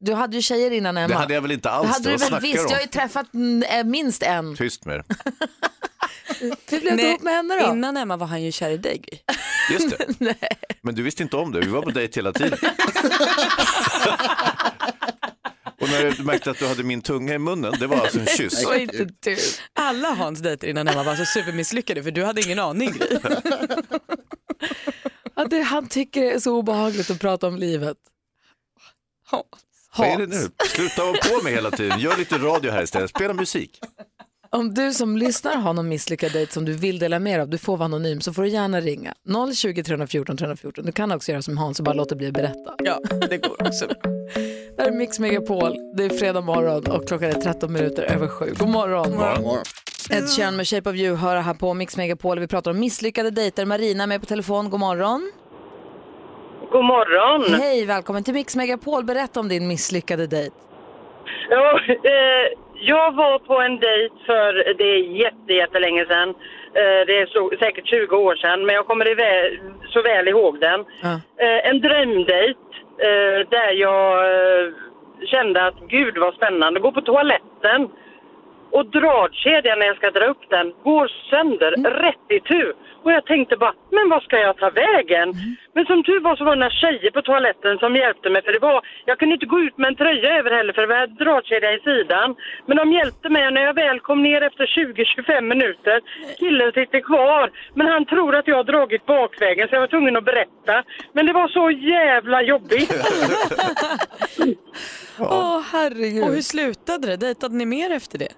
Speaker 1: Du hade ju tjejer innan Emma.
Speaker 3: Det hade jag väl inte alls.
Speaker 1: Det hade
Speaker 3: då.
Speaker 1: du
Speaker 3: Vad
Speaker 1: väl
Speaker 3: snackar
Speaker 1: visst,
Speaker 3: du om?
Speaker 1: jag har ju träffat mm, eh, minst en.
Speaker 3: Tyst med det.
Speaker 1: Hur blev du
Speaker 6: Nej,
Speaker 1: ihop med henne då?
Speaker 6: Innan Emma var han ju kär i dig. Gry.
Speaker 3: Just det. Men du visste inte om det, vi var på dejt hela tiden. Och när du märkte att du hade min tunga i munnen, det var alltså en kyss.
Speaker 6: Det var inte du. Alla Hans dejter innan Emma var så supermisslyckade för du hade ingen aning. Gry.
Speaker 1: Ja, det han tycker det är så obehagligt att prata om livet.
Speaker 3: Vad är det nu? Sluta hålla på med hela tiden, gör lite radio här istället, spela musik.
Speaker 1: Om du som lyssnar har någon misslyckad dejt som du vill dela med dig av, du får vara anonym, så får du gärna ringa 020 314 314. Du kan också göra som Hans och bara låta bli att berätta.
Speaker 6: Ja, det går också.
Speaker 1: Det här är Mix Megapol, det är fredag morgon och klockan är 13 minuter över sju. God morgon! Ed Sheeran med Shape of You hör här på Mix Megapol. Vi pratar om misslyckade dejter. Marina är med på telefon. God morgon.
Speaker 13: God morgon.
Speaker 1: Hej, välkommen till Mix Megapol. Berätta om din misslyckade dejt.
Speaker 13: Ja, eh, jag var på en dejt för det är jätte, jättelänge sedan. Eh, det är så, säkert 20 år sedan, men jag kommer iväl, så väl ihåg den. Eh, en drömdejt eh, där jag eh, kände att gud vad spännande, gå på toaletten och dragkedjan när jag ska dra upp den går sönder rätt i tur. Och jag tänkte bara, men vad ska jag ta vägen? Men som tur var så var det några tjejer på toaletten som hjälpte mig för det var, jag kunde inte gå ut med en tröja över heller för det var dragkedja i sidan. Men de hjälpte mig och när jag väl kom ner efter 20-25 minuter, killen sitter kvar men han tror att jag har dragit bakvägen så jag var tvungen att berätta. Men det var så jävla jobbigt.
Speaker 6: Åh herregud. Och hur slutade det? Dejtade ni mer efter det?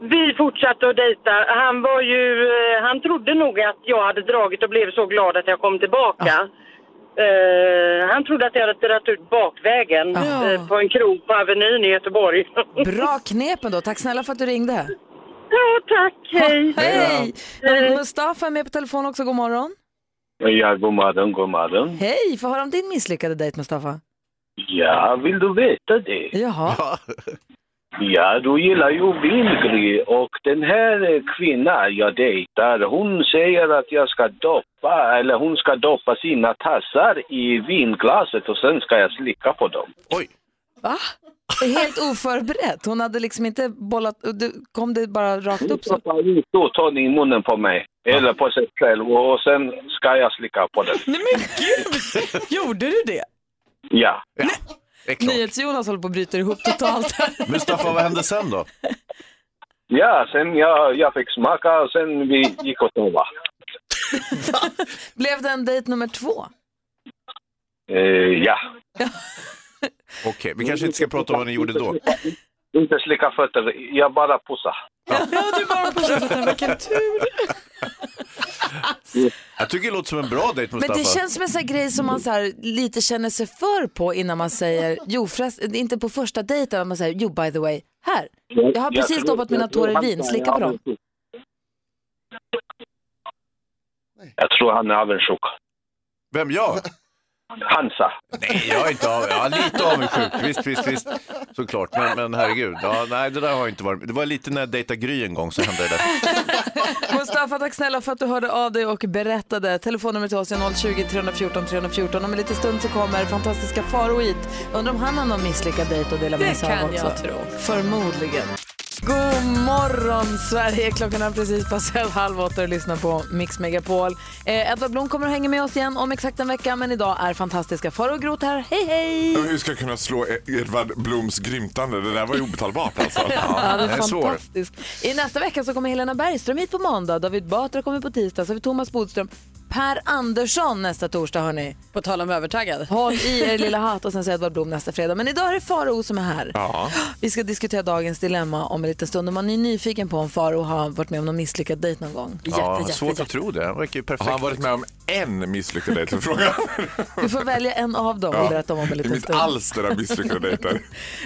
Speaker 13: Vi fortsatte att dejta. Han var ju, eh, han trodde nog att jag hade dragit och blev så glad att jag kom tillbaka. Eh, han trodde att jag hade dragit ut bakvägen eh, på en krog på Avenyn i Göteborg.
Speaker 1: Bra knep ändå. Tack snälla för att du ringde.
Speaker 13: Ja, tack. Hej.
Speaker 1: Hej. Eh, Mustafa är med på telefon också. God morgon.
Speaker 14: Ja, god morgon, god morgon.
Speaker 1: Hej, få höra om din misslyckade dejt Mustafa.
Speaker 14: Ja, vill du veta det?
Speaker 1: Jaha.
Speaker 14: Ja, du gillar ju vingry och den här eh, kvinnan jag dejtar, hon säger att jag ska doppa, eller hon ska doppa sina tassar i vinglaset och sen ska jag slicka på dem.
Speaker 3: Oj!
Speaker 1: Va? Helt oförberett. Hon hade liksom inte bollat, och du- kom det bara rakt upp så?
Speaker 14: Då tar ni i munnen på mig, eller på sig själv, och sen ska jag slicka på den.
Speaker 6: Gjorde du det?
Speaker 14: Ja.
Speaker 1: NyhetsJonas håller på att bryta ihop totalt.
Speaker 3: Mustafa, vad hände sen då?
Speaker 14: Ja, sen jag, jag fick smaka och sen vi gick och sova.
Speaker 1: Blev det en dejt nummer två?
Speaker 14: Eh, ja.
Speaker 3: Okej, vi kanske inte ska prata om vad ni gjorde då.
Speaker 14: Inte slicka fötter, jag bara pussar.
Speaker 6: Ja, du bara pussade fötterna. Vilken tur.
Speaker 3: Jag tycker det låter som en bra dejt
Speaker 1: Men
Speaker 3: Mustafa.
Speaker 1: det känns som en sån här grej som man så här, lite känner sig för på innan man säger, jo förrest, inte på första dejten, att man säger, jo by the way, här, jag har precis
Speaker 14: tror-
Speaker 1: doppat mina
Speaker 14: jag tror
Speaker 1: tår i
Speaker 14: han
Speaker 1: vin,
Speaker 14: är
Speaker 1: slicka på dem.
Speaker 14: avundsjuk. Jag tror han är avundsjuk.
Speaker 3: Vem, jag?
Speaker 14: Hansa.
Speaker 3: Nej, jag är inte av, jag är lite avundsjuk. Visst, visst, visst. Såklart, men, men herregud. Ja, nej, det där har inte varit. Det var lite när jag dejtade Gry en gång så hände det där.
Speaker 1: Mustafa, tack snälla för att du hörde av dig och berättade. Telefonnumret till oss är 020 314 314. Om en liten stund så kommer fantastiska Faro hit. Undrar om han har någon misslyckad dejt att dela
Speaker 5: Det
Speaker 1: med sig av
Speaker 5: kan
Speaker 1: också.
Speaker 5: jag tro.
Speaker 1: Förmodligen. God morgon Sverige! Klockan har precis passerat halv åtta och lyssnar på Mix Megapol. Eh, Edvard Blom kommer att hänga med oss igen om exakt en vecka men idag är fantastiska Faro Groth här. Hej hej!
Speaker 15: Hur ska jag kunna slå Edvard Bloms grymtande? Det där var ju obetalbart alltså.
Speaker 1: Ja, det är fantastiskt. I nästa vecka så kommer Helena Bergström hit på måndag, David Batra kommer på tisdag, så har vi Thomas Bodström. Per Andersson nästa torsdag hörni.
Speaker 5: På tal om övertaggad.
Speaker 1: Håll i er lilla hatt och sen så Edvard Blom nästa fredag. Men idag är det Faro som är här.
Speaker 15: Ja.
Speaker 1: Vi ska diskutera dagens dilemma om en liten stund. Om man är nyfiken på om Faro har varit med om någon misslyckad dejt någon gång.
Speaker 15: Ja, svårt
Speaker 3: att tro det. Han verkar ju
Speaker 15: perfekt. Har han varit med om en misslyckad dejt? är Frågan.
Speaker 1: Du får välja en av dem och berätta om om en liten
Speaker 15: Inte
Speaker 1: stund.
Speaker 15: alls det där misslyckade dejten.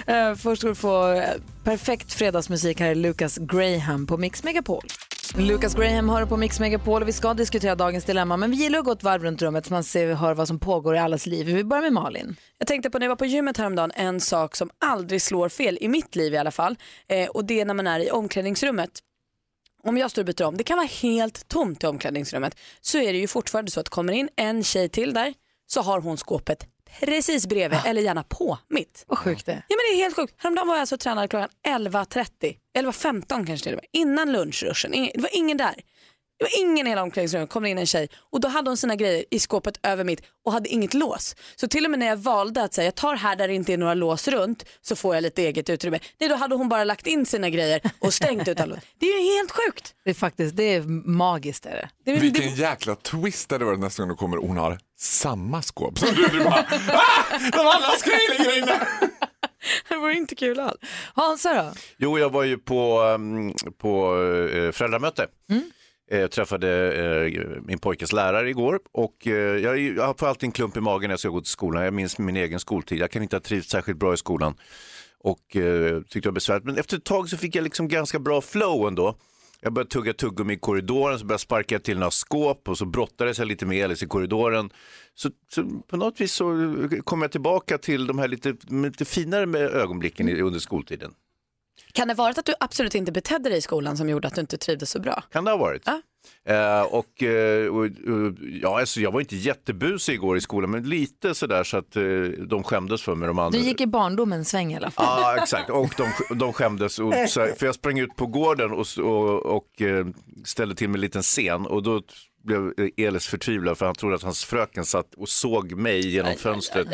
Speaker 1: Eh, först ska du få eh, perfekt fredagsmusik. Här är Lucas Graham på Mix Megapol. Lucas Graham hör på Mix Megapol och vi ska diskutera dagens dilemma. Men vi gillar att gå ett varv runt rummet så man ser och hör vad som pågår i allas liv. Vi börjar med Malin.
Speaker 6: Jag tänkte på när jag var på gymmet häromdagen en sak som aldrig slår fel i mitt liv i alla fall eh, och det är när man är i omklädningsrummet. Om jag står och byter om, det kan vara helt tomt i omklädningsrummet, så är det ju fortfarande så att kommer in en tjej till där så har hon skåpet precis bredvid
Speaker 1: Ah.
Speaker 6: eller gärna på mitt.
Speaker 1: Vad sjukt det är.
Speaker 6: Ja men det är helt sjukt. Häromdagen var jag alltså och tränade klockan 11.30, 11.15 kanske till och med, innan lunchruschen. Ingen- Det var ingen där. Det var ingen i hela omklädningsrummet, kom det in en tjej och då hade hon sina grejer i skåpet över mitt och hade inget lås. Så till och med när jag valde att säga jag tar här där det inte är några lås runt så får jag lite eget utrymme. Nej då hade hon bara lagt in sina grejer och stängt utan lås. Det är ju helt sjukt.
Speaker 1: Det är faktiskt, det är magiskt är det.
Speaker 15: Vilken jäkla twist det hade varit nästa gång du kommer hon har samma skåp som du. du bara, Ah! De andra ska ju inne.
Speaker 6: Det vore inte kul alls.
Speaker 1: Hansa då?
Speaker 3: Jo, jag var ju på, ehm, på eh, föräldramöte. Eh, Jag träffade eh, min pojkes lärare igår och eh, jag, är ju- jag får alltid en klump i magen när jag ska gå till skolan. Jag minns min egen skoltid. Jag kan inte ha trivts särskilt bra i skolan och eh, tyckte det var besvärligt. Men efter ett tag så fick jag liksom ganska bra flow ändå. Jag började tugga tuggummi i korridoren, så började jag sparka till några skåp och så brottades jag lite med Elis i korridoren. Så, så på något vis så eh, kom jag tillbaka till de här lite, lite finare med ögonblicken i- under skoltiden.
Speaker 6: Kan det varit att du absolut inte betedde dig i skolan som gjorde att du inte trivdes så bra?
Speaker 3: Kan det ha varit. Eh, och, eh, och, och, ja, alltså, jag var inte jättebusig igår i skolan, men lite sådär så att eh, de skämdes för mig. De andra.
Speaker 1: Du gick i barndomens sväng i alla fall.
Speaker 3: Ja, exakt. Och de, de skämdes. Och, så här, för jag sprang ut på gården och, och, och eh, ställde till med en liten scen. Och då blev eh, Elis förtvivlad för han trodde att hans fröken satt och såg mig genom fönstret.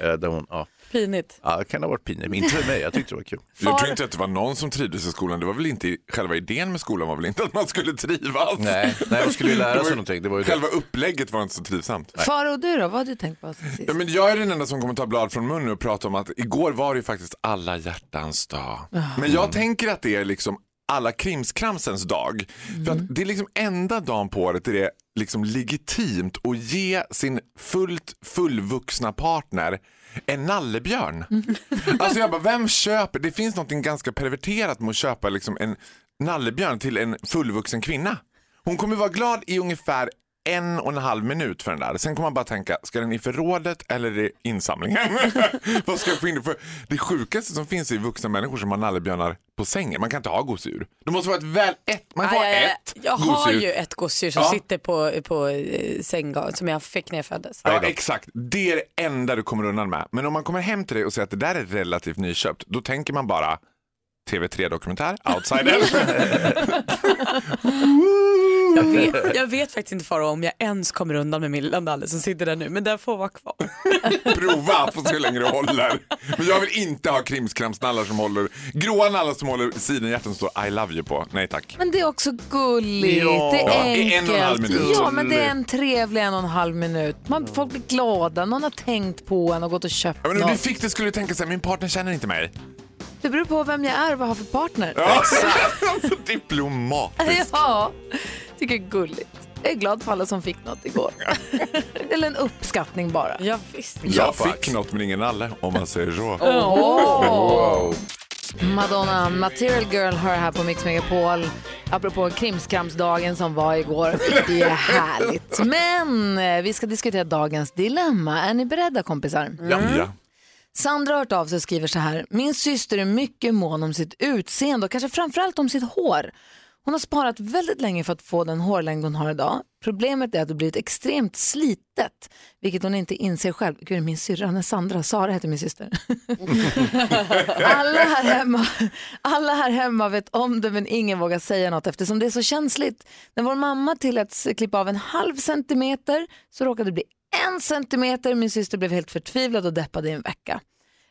Speaker 3: Eh, Där hon, ja.
Speaker 6: Pinigt.
Speaker 3: Ja, det kan ha varit pinigt, men inte för mig. Jag tyckte det var kul.
Speaker 15: Jag tror inte att det var någon som trivdes i skolan. Det var väl inte, själva idén med skolan var väl inte att man skulle trivas?
Speaker 3: Nej, nej, man skulle ju lära
Speaker 15: Det var
Speaker 3: sig någonting. Det var ju det.
Speaker 15: själva upplägget var inte så trivsamt.
Speaker 1: Faro, du då? Vad har du tänkt på sen sist?
Speaker 15: Ja, men jag är den enda som kommer ta blad från munnen och prata om att igår var det ju faktiskt alla hjärtans dag. Men jag tänker att det är liksom alla krimskramsens dag. För att det är liksom enda dagen på året där det är liksom legitimt att ge sin fullt fullvuxna partner en nallebjörn. Alltså jag bara, vem köper? Det finns något ganska perverterat med att köpa liksom en nallebjörn till en fullvuxen kvinna. Hon kommer vara glad i ungefär en och en halv minut för den där. Sen kommer man bara tänka, ska den i förrådet eller i insamlingen? Vad ska jag få in? För det sjukaste som finns är vuxna människor som har nallebjörnar på sängen. Man kan inte ha gosedjur. Det måste vara ett väl... Ett, man får ha
Speaker 6: Aj, aj, aj.
Speaker 15: ett
Speaker 6: Jag har
Speaker 15: gosedjur.
Speaker 6: ju ett gosedjur som
Speaker 15: Ja.
Speaker 6: sitter på, på eh, sänggolvet som jag fick när jag föddes.
Speaker 15: Ja, exakt. Det är det enda du kommer undan med. Men om man kommer hem till dig och säger att det där är relativt nyköpt, då tänker man bara TV3-dokumentär, outsider.
Speaker 6: Jag vet, jag vet faktiskt inte Faro om jag ens kommer undan med min lilla nalle som sitter där nu, men den får vara kvar.
Speaker 15: Prova, får se hur länge det håller. Men jag vill inte ha krimskramsnallar som håller, gråa nallar som håller sidan hjärtan som står I love you på. Nej tack.
Speaker 1: Men det är också gulligt,
Speaker 15: Ja.
Speaker 1: det
Speaker 15: Ja,
Speaker 1: är
Speaker 15: i
Speaker 1: enkelt.
Speaker 15: en och en halv minut.
Speaker 1: Ja, men det är en trevlig en och en halv minut. Man, folk blir glada, någon har tänkt på en och gått och köpt
Speaker 15: Ja, men om du
Speaker 1: något.
Speaker 15: fick det skulle du tänka så här, min partner känner inte mig.
Speaker 1: Det beror på vem jag är och vad jag har för partner.
Speaker 15: Ja. alltså diplomat.
Speaker 1: Ja, tycker det är gulligt. Jag är glad för alla som fick något igår. Eller en uppskattning bara.
Speaker 6: Ja, visst.
Speaker 15: Jag fick något men ingen nalle, om man säger så.
Speaker 1: Åh.
Speaker 15: Wow.
Speaker 1: Madonna, Material Girl, hör här på Mix Megapol. Apropå krimskramsdagen som var igår. Det är härligt. Men eh, vi ska diskutera dagens dilemma. Är ni beredda kompisar?
Speaker 15: Ja.
Speaker 1: Sandra har hört av sig och skriver så här. Min syster är mycket mån om sitt utseende och kanske framförallt om sitt hår. Hon har sparat väldigt länge för att få den hårlängd hon har idag. Problemet är att det blivit extremt slitet, vilket hon inte inser själv. Gud, min syrra, hon är Sandra, Sara heter min syster. alla, här hemma, alla här hemma vet om det men ingen vågar säga något eftersom det är så känsligt. När vår mamma tilläts klippa av en halv centimeter så råkade det bli en centimeter. Min syster blev helt förtvivlad och deppad i en vecka.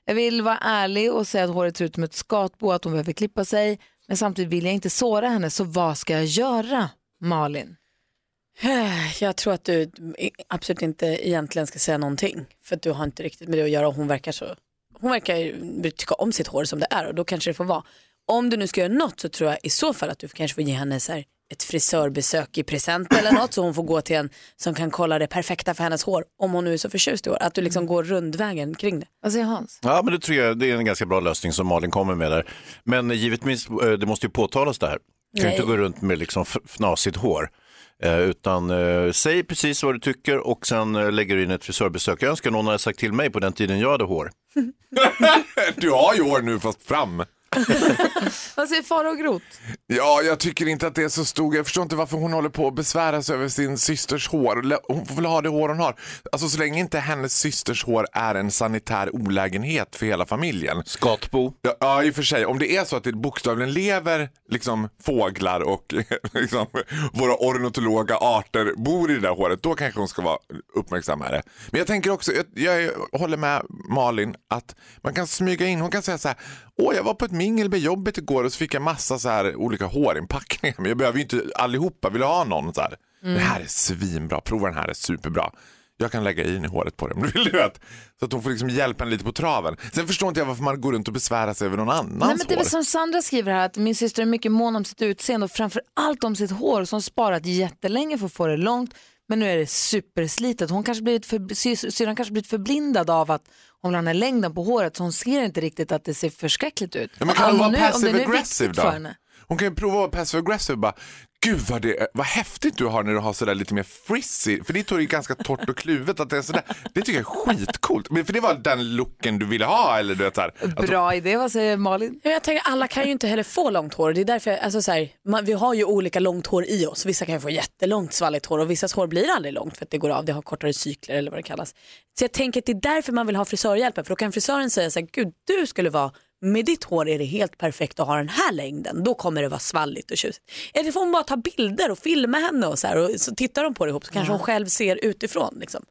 Speaker 1: Jag vill vara ärlig och säga att håret ser ut som ett skatbo att hon behöver klippa sig. Men samtidigt vill jag inte såra henne, så vad ska jag göra, Malin?
Speaker 6: Jag tror att du absolut inte egentligen ska säga någonting. För att du har inte riktigt med det att göra och hon verkar så. Hon verkar ju tycka om sitt hår som det är och då kanske det får vara. Om du nu ska göra något så tror jag i så fall att du kanske får ge henne så här ett frisörbesök i present eller något så hon får gå till en som kan kolla det perfekta för hennes hår. Om hon nu är så förtjust i hår. Att du liksom går rundvägen kring det.
Speaker 1: Mm. Vad säger Hans?
Speaker 3: Ja, men det tror jag det är en ganska bra lösning som Malin kommer med där. Men eh, givetvis, eh, det måste ju påtalas det här. Du kan ju
Speaker 6: Nej.
Speaker 3: inte gå runt med liksom f- fnasigt hår. Eh, utan eh, säg precis vad du tycker och sen eh, lägger du in ett frisörbesök. Jag önskar någon hade sagt till mig på den tiden jag hade hår.
Speaker 15: Du har ju hår nu fast fram.
Speaker 1: Vad säger far och grot?
Speaker 15: Ja, jag tycker inte att det är så stor Jag förstår inte varför hon håller på att besvära sig över sin systers hår. Lä- Hon får väl ha det hår hon har. Alltså så länge inte hennes systers hår är en sanitär olägenhet för hela familjen.
Speaker 3: Skatbo.
Speaker 15: Ja, ja i och för sig. Om det är så att det bokstavligen lever liksom, fåglar och liksom, våra ornitologa arter bor i det där håret, då kanske hon ska vara uppmärksammare. Men jag tänker också, jag, jag håller med Malin, att man kan smyga in, hon kan säga så här, åh jag var på ett mingel med jobbet igår och så fick jag massa så här olika hårinpackningar, men jag behöver ju inte allihopa, vill jag ha någon så här?
Speaker 16: Mm.
Speaker 15: Det här är svinbra, prova den här, är superbra. Jag kan lägga in i håret på dig om du vill. du vet. Så att hon får liksom hjälpa henne lite på traven. Sen förstår inte jag varför man går runt och besvärar sig över någon annans
Speaker 1: Nej, men det är
Speaker 15: hår.
Speaker 1: väl som Sandra skriver här, att min syster är mycket mån om sitt utseende och framför allt om sitt hår som sparat jättelänge för att få det långt. Men nu är det superslitet. Hon kanske blivit för, sy- syrran kanske blivit förblindad av att hon har den här längden på håret så hon ser inte riktigt att det ser förskräckligt ut.
Speaker 15: Ja, men kan hon
Speaker 1: Om
Speaker 15: vara
Speaker 1: nu- om det nu är viktigt
Speaker 15: passive aggressive
Speaker 1: för
Speaker 15: då?
Speaker 1: henne.
Speaker 15: Hon kan ju prova att vara passive aggressive bara, gud vad, det, vad häftigt du har när du har sådär lite mer frizzy, för ditt hår är ju ganska torrt och kluvet, att det är sådär, det tycker jag är skitcoolt. Men för det var den looken du ville ha eller du vet såhär.
Speaker 1: Bra idé, vad säger Malin?
Speaker 6: Ja, Jag tänker, alla kan ju inte heller få långt hår. Det är därför, alltså, så här, man, vi har ju olika långt hår i oss. Vissa kan ju få jättelångt svalligt hår och vissas hår blir aldrig långt för att det går av. Det har kortare cykler eller vad det kallas. Så jag tänker att det är därför man vill ha frisörhjälpen. För då kan frisören säga så här, gud du skulle vara, med ditt hår är det helt perfekt att ha den här längden. Då kommer det vara svalligt och tjusigt. Eller får hon bara ta bilder och filma henne och så här. Och så tittar de på det ihop så kanske hon själv ser utifrån. Liksom.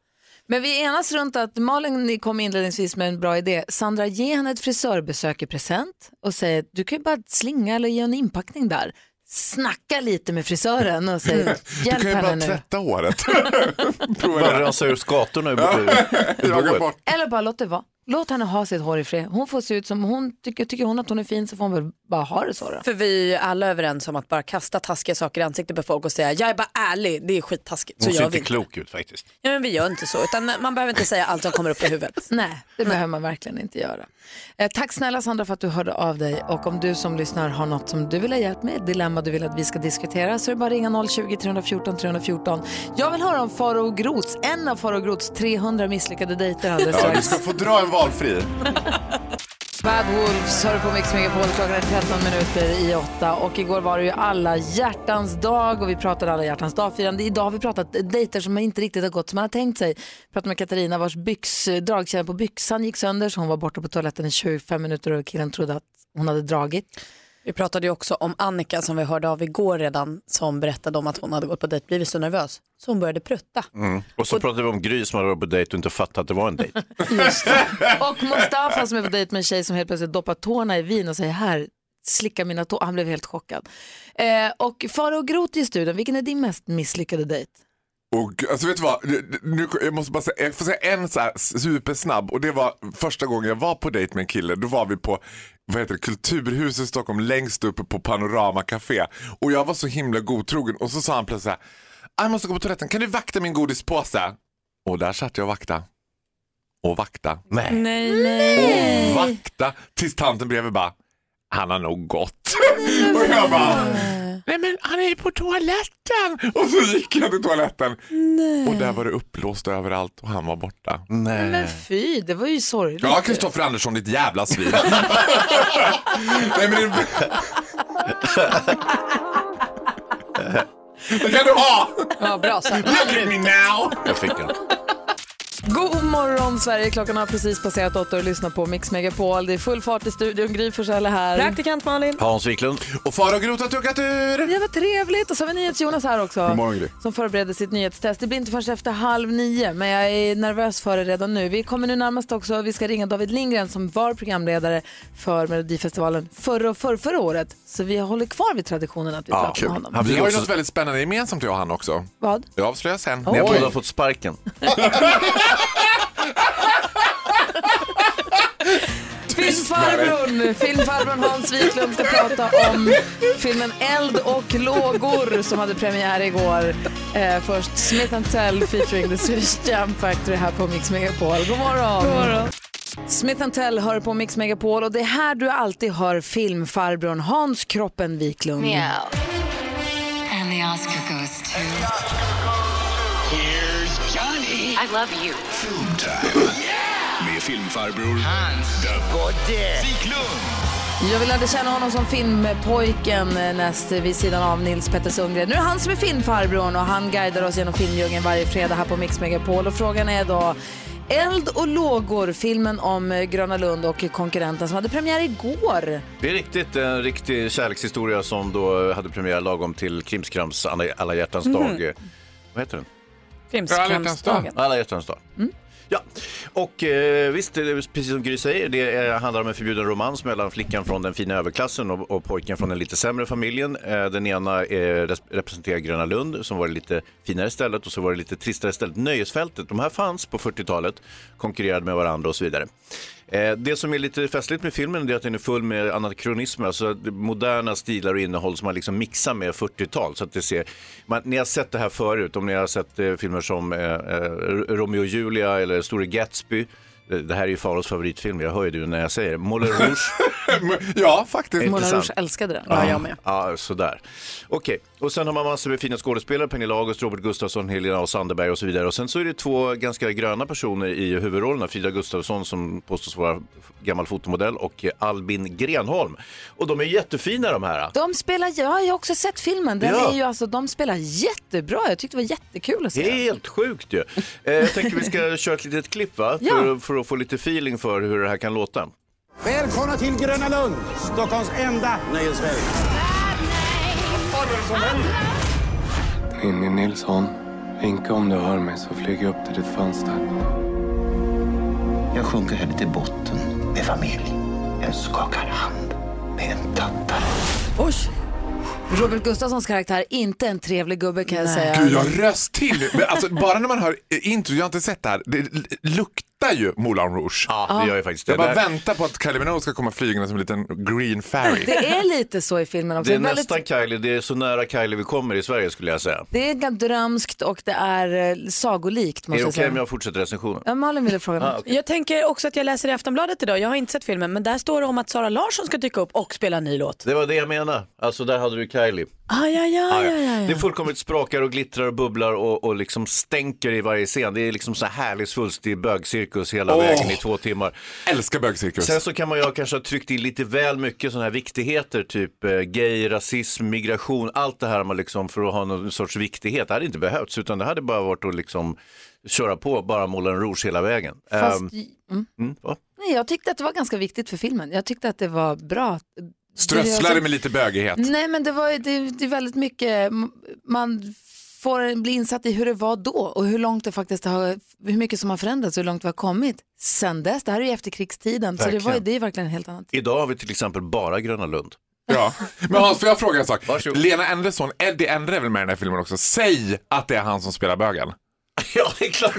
Speaker 1: Men vi enas runt att Malin ni kom inledningsvis med en bra idé. Sandra, ge henne ett frisörbesök i present och säg att du kan ju bara slinga eller ge en inpackning där. Snacka lite med frisören och säg
Speaker 15: Du
Speaker 1: hjälp
Speaker 15: kan ju bara
Speaker 1: henne nu.
Speaker 15: tvätta håret.
Speaker 3: Bara rensa ur skatorna ur ur boet.
Speaker 1: Eller bara låt det vara. Låt henne ha sitt hår i fred. Hon får se ut som hon tycker. Tycker hon att hon är fin så får hon väl bara ha det så då.
Speaker 6: För vi är ju alla överens om att bara kasta taskiga saker i ansiktet på folk och säga jag är bara ärlig, det är skittaskigt. Så
Speaker 3: Hon ser
Speaker 6: gör
Speaker 3: inte
Speaker 6: vi inte.
Speaker 3: klok ut faktiskt.
Speaker 6: Ja, men vi gör inte så, utan man behöver inte säga allt som kommer upp i huvudet.
Speaker 1: Nej, det behöver man verkligen inte göra. Eh, tack snälla Sandra för att du hörde av dig och om du som lyssnar har något som du vill ha hjälp med, ett dilemma du vill att vi ska diskutera så är det bara att ringa 020-314 314. Jag vill höra om Faro Grots, en av Faro Grots 300 misslyckade dejter alldeles
Speaker 15: Ja, du
Speaker 1: strax.
Speaker 15: ska få dra en valfri.
Speaker 1: Bad Wolves hör på Mix Megapol klockan är 13 minuter i åtta och igår var det ju alla hjärtans dag och vi pratade alla hjärtans dag-firande. Idag har vi pratat dejter som inte riktigt har gått som man har tänkt sig. Vi pratade med Katarina vars byx, dragkedja på byxan gick sönder så hon var borta på toaletten i 25 minuter och killen trodde att hon hade dragit.
Speaker 6: Vi pratade ju också om Annika som vi hörde av igår redan som berättade om att hon hade gått på dejt, blivit så nervös så hon började prutta.
Speaker 15: Mm.
Speaker 3: Och så pratade vi om Gry som hade varit på dejt och inte fattat att det var en dejt.
Speaker 1: Och Mustafa som är på dejt med en tjej som helt plötsligt doppar tårna i vin och säger här, slicka mina tår. Han blev helt chockad. Eh, och Faro Groth i studion, vilken är din mest misslyckade dejt?
Speaker 15: Och, gud, alltså vet du vad, nu, nu, jag måste bara säga, jag får säga en så här supersnabb och det var första gången jag var på dejt med en kille. Då var vi på vad heter det, Kulturhuset i Stockholm längst uppe på Panorama Café och jag var så himla godtrogen och så sa han plötsligt så här, "Ah, jag måste gå på toaletten, kan du vakta min godispåse? Och där satt jag och vakta. Och vakta.
Speaker 3: Nej.
Speaker 6: Nej, nej.
Speaker 15: Och vakta tills tanten bredvid bara, han har nog gått. och jag bara,
Speaker 1: nu?
Speaker 15: Nej men han är på toaletten! Och så gick jag till toaletten
Speaker 1: Nej.
Speaker 15: och där var det uppblåst överallt och han var borta.
Speaker 3: Eh.
Speaker 1: Men fy, det var ju sorgligt.
Speaker 15: Ja, Kristoffer Andersson, ditt jävla svin. Nej, men det... det kan du ha!
Speaker 1: Ja, bra sagt.
Speaker 15: Look at me now!
Speaker 3: Jag fick den.
Speaker 1: God morgon Sverige, klockan har precis passerat åtta och lyssnar på Mix Megapol. Det är full fart i studion, Gry Forssell är här.
Speaker 5: Praktikant Malin.
Speaker 3: Hans Wiklund.
Speaker 15: Och Farao Groth har tuckat ur.
Speaker 1: Ja, vad trevligt. Och så har vi NyhetsJonas här också.
Speaker 3: God morgon, Gry.
Speaker 1: Som förbereder sitt nyhetstest. Det blir inte först efter halv nio, men jag är nervös för det redan nu. Vi kommer nu närmast också, vi ska ringa David Lindgren som var programledare för Melodifestivalen förra och förra, förra året. Så vi håller kvar vid traditionen att vi pratar med honom.
Speaker 15: Vi har ju något väldigt spännande gemensamt jag och han också.
Speaker 1: Vad?
Speaker 15: Det avslöjar jag sen.
Speaker 1: Ni har båda
Speaker 3: fått sparken.
Speaker 1: Filmfarbrorn, filmfarbrorn Hans Wiklund ska prata om filmen Eld och lågor som hade premiär igår. Eh, först Smith Tell featuring The Swedish Jam Factory här på Mix Megapol. God morgon!
Speaker 4: God morgon.
Speaker 1: Smith Tell hör på Mix Megapol och det är här du alltid hör filmfarbrorn Hans Kroppen Wiklund.
Speaker 16: And the Oscar goes to. Here's Johnny. I love you.
Speaker 17: Film time. Med filmfarbror Hans The Godde Wiklund.
Speaker 1: Jag vill lära känna honom som filmpojken eh, näst vid sidan av Nils Petter Sundgren. Nu är det han som är filmfarbrorn och han guidar oss genom filmdjungeln varje fredag här på Mix Megapol. Och frågan är då Eld och lågor, filmen om eh, Gröna Lund och konkurrenten som hade premiär igår.
Speaker 3: Det är riktigt en riktig kärlekshistoria som då hade premiär lagom till Krimskrams Alla, alla hjärtans
Speaker 1: Mhm.
Speaker 3: dag. eh, Vad heter den?
Speaker 1: Krimskramsdagen.
Speaker 3: Alla hjärtans dag. Ja, och eh, visst, det är precis som Gry säger, det eh, handlar om en förbjuden romans mellan flickan från den fina överklassen och, och pojken från den lite sämre familjen. Eh, den ena eh, res- representerar Gröna Lund som var det lite finare stället och så var det lite tristare stället, Nöjesfältet. De här fanns på 40-talet, konkurrerade med varandra och så vidare. Eh, Det som är lite festligt med filmen är att den är full med anakronismer, alltså moderna stilar och innehåll som man liksom mixar med 40-tal. Så att det ser, man, ni har sett det här förut, om ni har sett eh, filmer som eh, eh, Romeo och Julia eller Store Gatsby. Eh, Det här är ju Faros favoritfilm, jag hör ju det när jag säger det. Moulin Rouge.
Speaker 15: ja, faktiskt.
Speaker 1: Moulin Rouge älskade den.
Speaker 3: Ja, sådär. Okej, och sen har man massor med fina skådespelare, Pernilla August, Robert Gustafsson, Helena och Sandberg och så vidare. Och sen så är det två ganska gröna personer i huvudrollerna, Frida Gustafsson som påstås vara f- gammal fotomodell och eh, Albin Grenholm. Och de är jättefina de här.
Speaker 1: De spelar, ja, jag har också sett filmen, den
Speaker 3: Ja.
Speaker 1: är ju alltså, de spelar jättebra. Jag tyckte det var jättekul att se. den.
Speaker 3: Helt sjukt ju. Eh, jag tänker vi ska köra ett litet klipp va?
Speaker 1: Ja.
Speaker 3: För, för att få lite feeling för hur det här kan låta.
Speaker 18: Välkomna till Gröna Lund, Stockholms enda nöjesväg.
Speaker 19: Ninni Nilsson, vinka om du hör mig så flyger jag upp till ditt fönster.
Speaker 17: Jag sjunker henne till botten med familj. Jag skakar hand med en tattare.
Speaker 1: Oj. Robert Gustafssons karaktär, inte en trevlig gubbe kan jag säga.
Speaker 15: Gud, jag röst till. Men alltså, bara när man hör eh, intro, jag har inte sett det här, det l- luktar ju Moulin Rouge.
Speaker 1: det Ja. gör ju
Speaker 3: faktiskt
Speaker 1: det.
Speaker 15: Jag bara
Speaker 1: Där-
Speaker 15: väntar på att Kylie Minogue ska komma flygande som en liten green fairy.
Speaker 1: Det är lite så i filmen också.
Speaker 3: Det är
Speaker 1: väldigt-
Speaker 3: nästan Kylie, det är så nära Kylie vi kommer i Sverige skulle jag säga.
Speaker 1: Det är ganska drömskt och det är eh, sagolikt
Speaker 3: Är det
Speaker 1: måste
Speaker 3: okej
Speaker 1: jag säga.
Speaker 3: om jag Ah, fortsätter recensionen?
Speaker 1: Ja, Malin ville fråga något.
Speaker 6: Jag tänker också att jag läser i Aftonbladet idag, jag har inte sett filmen, men där står det om att Sara Larsson ska dyka upp och spela en ny låt.
Speaker 3: Det var det jag menade. Alltså där hade du Kylie.
Speaker 6: Aj, aj, aj,
Speaker 3: Ah, Ja, ja.
Speaker 6: aj, aj.
Speaker 3: Det fullkomligt sprakar och glittrar och bubblar och, och liksom stänker i varje scen. Det är liksom så här härligt svulstig bögcirkus hela
Speaker 15: Åh.
Speaker 3: vägen i två timmar.
Speaker 15: Älskar bögcirkus.
Speaker 3: Sen så kan man ju ha kanske ha tryckt in lite väl mycket sådana här viktigheter, typ eh, gay, rasism, migration, allt det här man liksom för att ha någon sorts viktighet. Det hade inte behövts, utan det hade bara varit att liksom köra på, bara Moulin Rouge hela vägen.
Speaker 1: Fast,
Speaker 3: Ehm,
Speaker 1: mm.
Speaker 3: mm, va?
Speaker 1: Nej, jag tyckte att det var ganska viktigt för filmen. Jag tyckte att det var bra.
Speaker 15: Strösslar det med lite bögighet.
Speaker 1: alltså- Nej, men det var ju- det, det är väldigt mycket, m- man får bli insatt i hur det var då och hur långt det faktiskt har, hur mycket som har förändrats och hur långt vi har kommit sen dess. Det här är ju efterkrigstiden, så det, var, ju-
Speaker 3: Verkligen.
Speaker 1: det är verkligen en helt annat.
Speaker 3: Idag har vi till exempel bara Gröna Lund.
Speaker 15: Ja. Men Hans, får jag fråga en sak? Lena Andersson, Eddie Endre är väl med i den här filmen också? Säg att det är han som spelar bögen.
Speaker 3: Ja, det är klart.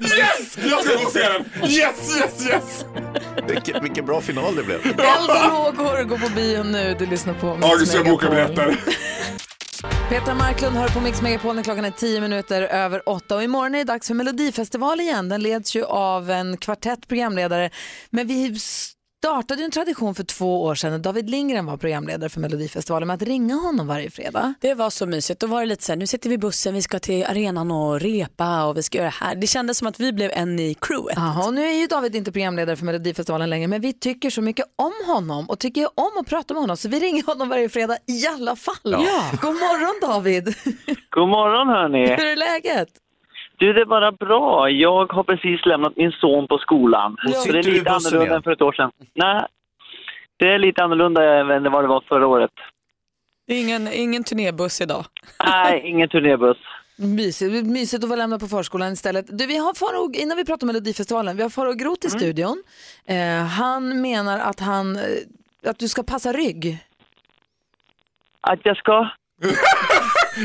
Speaker 15: Yes! Jag ska gå och se den! Yes, yes, yes!
Speaker 3: Vilken, vilken bra final det blev.
Speaker 1: Eld och lågor, gå på bio nu, du lyssnar på Mix
Speaker 15: August, jag bokar
Speaker 1: Megapol.
Speaker 15: biljetter.
Speaker 1: Petra Marklund hör på Mix Megapol när klockan är 10 minuter över 8 och imorgon är det dags för Melodifestival igen. Den leds ju av en kvartett programledare. Men vi s- startade ju en tradition för två år sedan när David Lindgren var programledare för Melodifestivalen med att ringa honom varje fredag.
Speaker 6: Det var så mysigt. Då var det lite så här, nu sitter vi i bussen, vi ska till arenan och repa och vi ska göra det här. Det kändes som att vi blev en i crewet.
Speaker 1: Jaha, och nu är ju David inte programledare för Melodifestivalen längre, men vi tycker så mycket om honom och tycker om att prata med honom, så vi ringer honom varje fredag i alla fall.
Speaker 20: Ja.
Speaker 1: God morgon David!
Speaker 20: God morgon hörni!
Speaker 1: Hur är läget?
Speaker 20: Du, det är bara bra. Jag har precis lämnat min son på skolan.
Speaker 4: Ja.
Speaker 20: Så det är
Speaker 4: Sitter du i
Speaker 20: lite
Speaker 4: bussen
Speaker 20: annorlunda
Speaker 4: igen?
Speaker 20: än för ett år sedan. Nej, det är lite annorlunda än vad det var förra året.
Speaker 6: Det är ingen, ingen turnébuss idag.
Speaker 20: Nej, ingen turnébuss.
Speaker 1: Mysigt, mysigt att få lämna på förskolan istället. Du, vi har Farao, innan vi pratar om Melodifestivalen, vi har Farao Groth
Speaker 15: Mm.
Speaker 1: i studion. Eh, han menar att, han, eh, att du ska passa rygg.
Speaker 20: Att jag ska?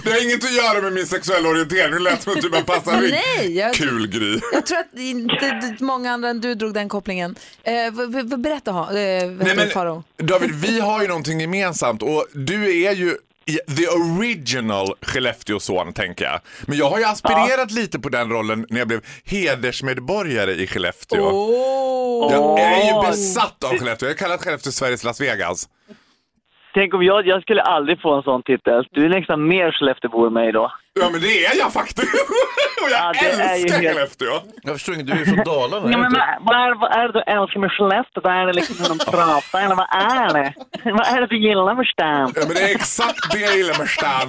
Speaker 15: Det har inget att göra med min sexuella orientering. Det lät som att du bara passar rygg.
Speaker 1: Nej, jag-
Speaker 15: Kul Gry.
Speaker 1: Jag tror att inte d- många andra än du drog den kopplingen. Eh, v- v- berätta, ha- eh, vad heter
Speaker 15: men-
Speaker 1: du, Farao.
Speaker 15: David, vi har ju någonting gemensamt och du är ju i- the original Skellefteåson tänker jag. Men jag har ju aspirerat lite på den rollen när jag blev hedersmedborgare i Skellefteå. Jag är ju besatt av Skellefteå. Jag har kallat Skellefteå Sveriges Las Vegas.
Speaker 20: Tänk om jag, jag skulle aldrig få en sån titel. Du är nästan mer Skelleftebo än mig då.
Speaker 15: Ja men det är jag faktiskt. Och jag
Speaker 20: det är ju
Speaker 15: älskar
Speaker 20: helt-
Speaker 15: Skellefteå.
Speaker 3: Jag förstår inte, du är från Dalarna.
Speaker 20: Ja, men vad, vad, är, vad är det du älskar med Skellefteå? Vad är det liksom hur de pratar eller vad är det? Vad är det du gillar med Stan?
Speaker 15: Ja, men det är exakt det jag gillar med Stan.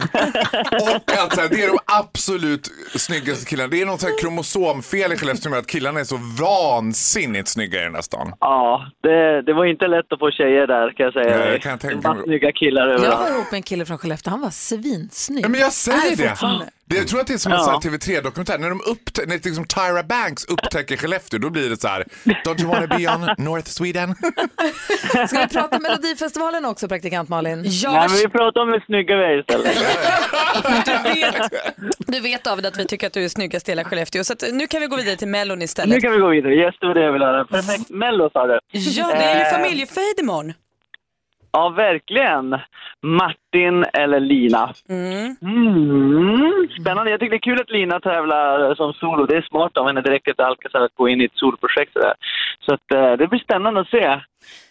Speaker 15: Och att så här, det är de absolut snyggaste killarna. Det är något så här kromosomfel i Skellefteå med att killarna är så vansinnigt snygga i den här stan.
Speaker 20: Ja, det, det var inte lätt att få tjejer där kan jag säga.
Speaker 15: Nej,
Speaker 20: dig.
Speaker 15: det kan jag tänka
Speaker 20: det var
Speaker 15: mig.
Speaker 20: snygga killar
Speaker 1: Jag var
Speaker 20: överallt.
Speaker 1: ihop med en kille från Skellefteå, han var svinsnygg.
Speaker 15: Ja, men jag
Speaker 1: Är
Speaker 15: säger det.
Speaker 1: fortfarande?
Speaker 15: det. Jag tror att det är som en
Speaker 1: Ja.
Speaker 15: sån här TV3-dokumentär. När, de upptä- när liksom Tyra Banks upptäcker Skellefteå, då blir det så här, don't you wanna be on North Sweden?
Speaker 1: Ska vi prata Melodifestivalen också, praktikant Malin?
Speaker 20: Nej, men vi pratar om hur snygga vi är istället.
Speaker 6: Du vet David att vi tycker att du är snyggast i hela Skellefteå. Så att, nu kan vi gå vidare till Mellon
Speaker 20: nu
Speaker 6: istället.
Speaker 20: kan vi gå vidare. Yes, det var det jag ville höra. Perfekt. Mello sa du.
Speaker 6: Ja, det är ju
Speaker 20: Eh,
Speaker 6: familjefejd imorgon.
Speaker 20: Ja, verkligen. Martin eller Lina?
Speaker 6: Mm.
Speaker 20: Mm, spännande. Jag tycker det är kul att Lina tävlar som solo. Det är smart av henne direkt efter Alcazar att gå in i ett soloprojekt sådär. Så att, eh, det blir spännande att se.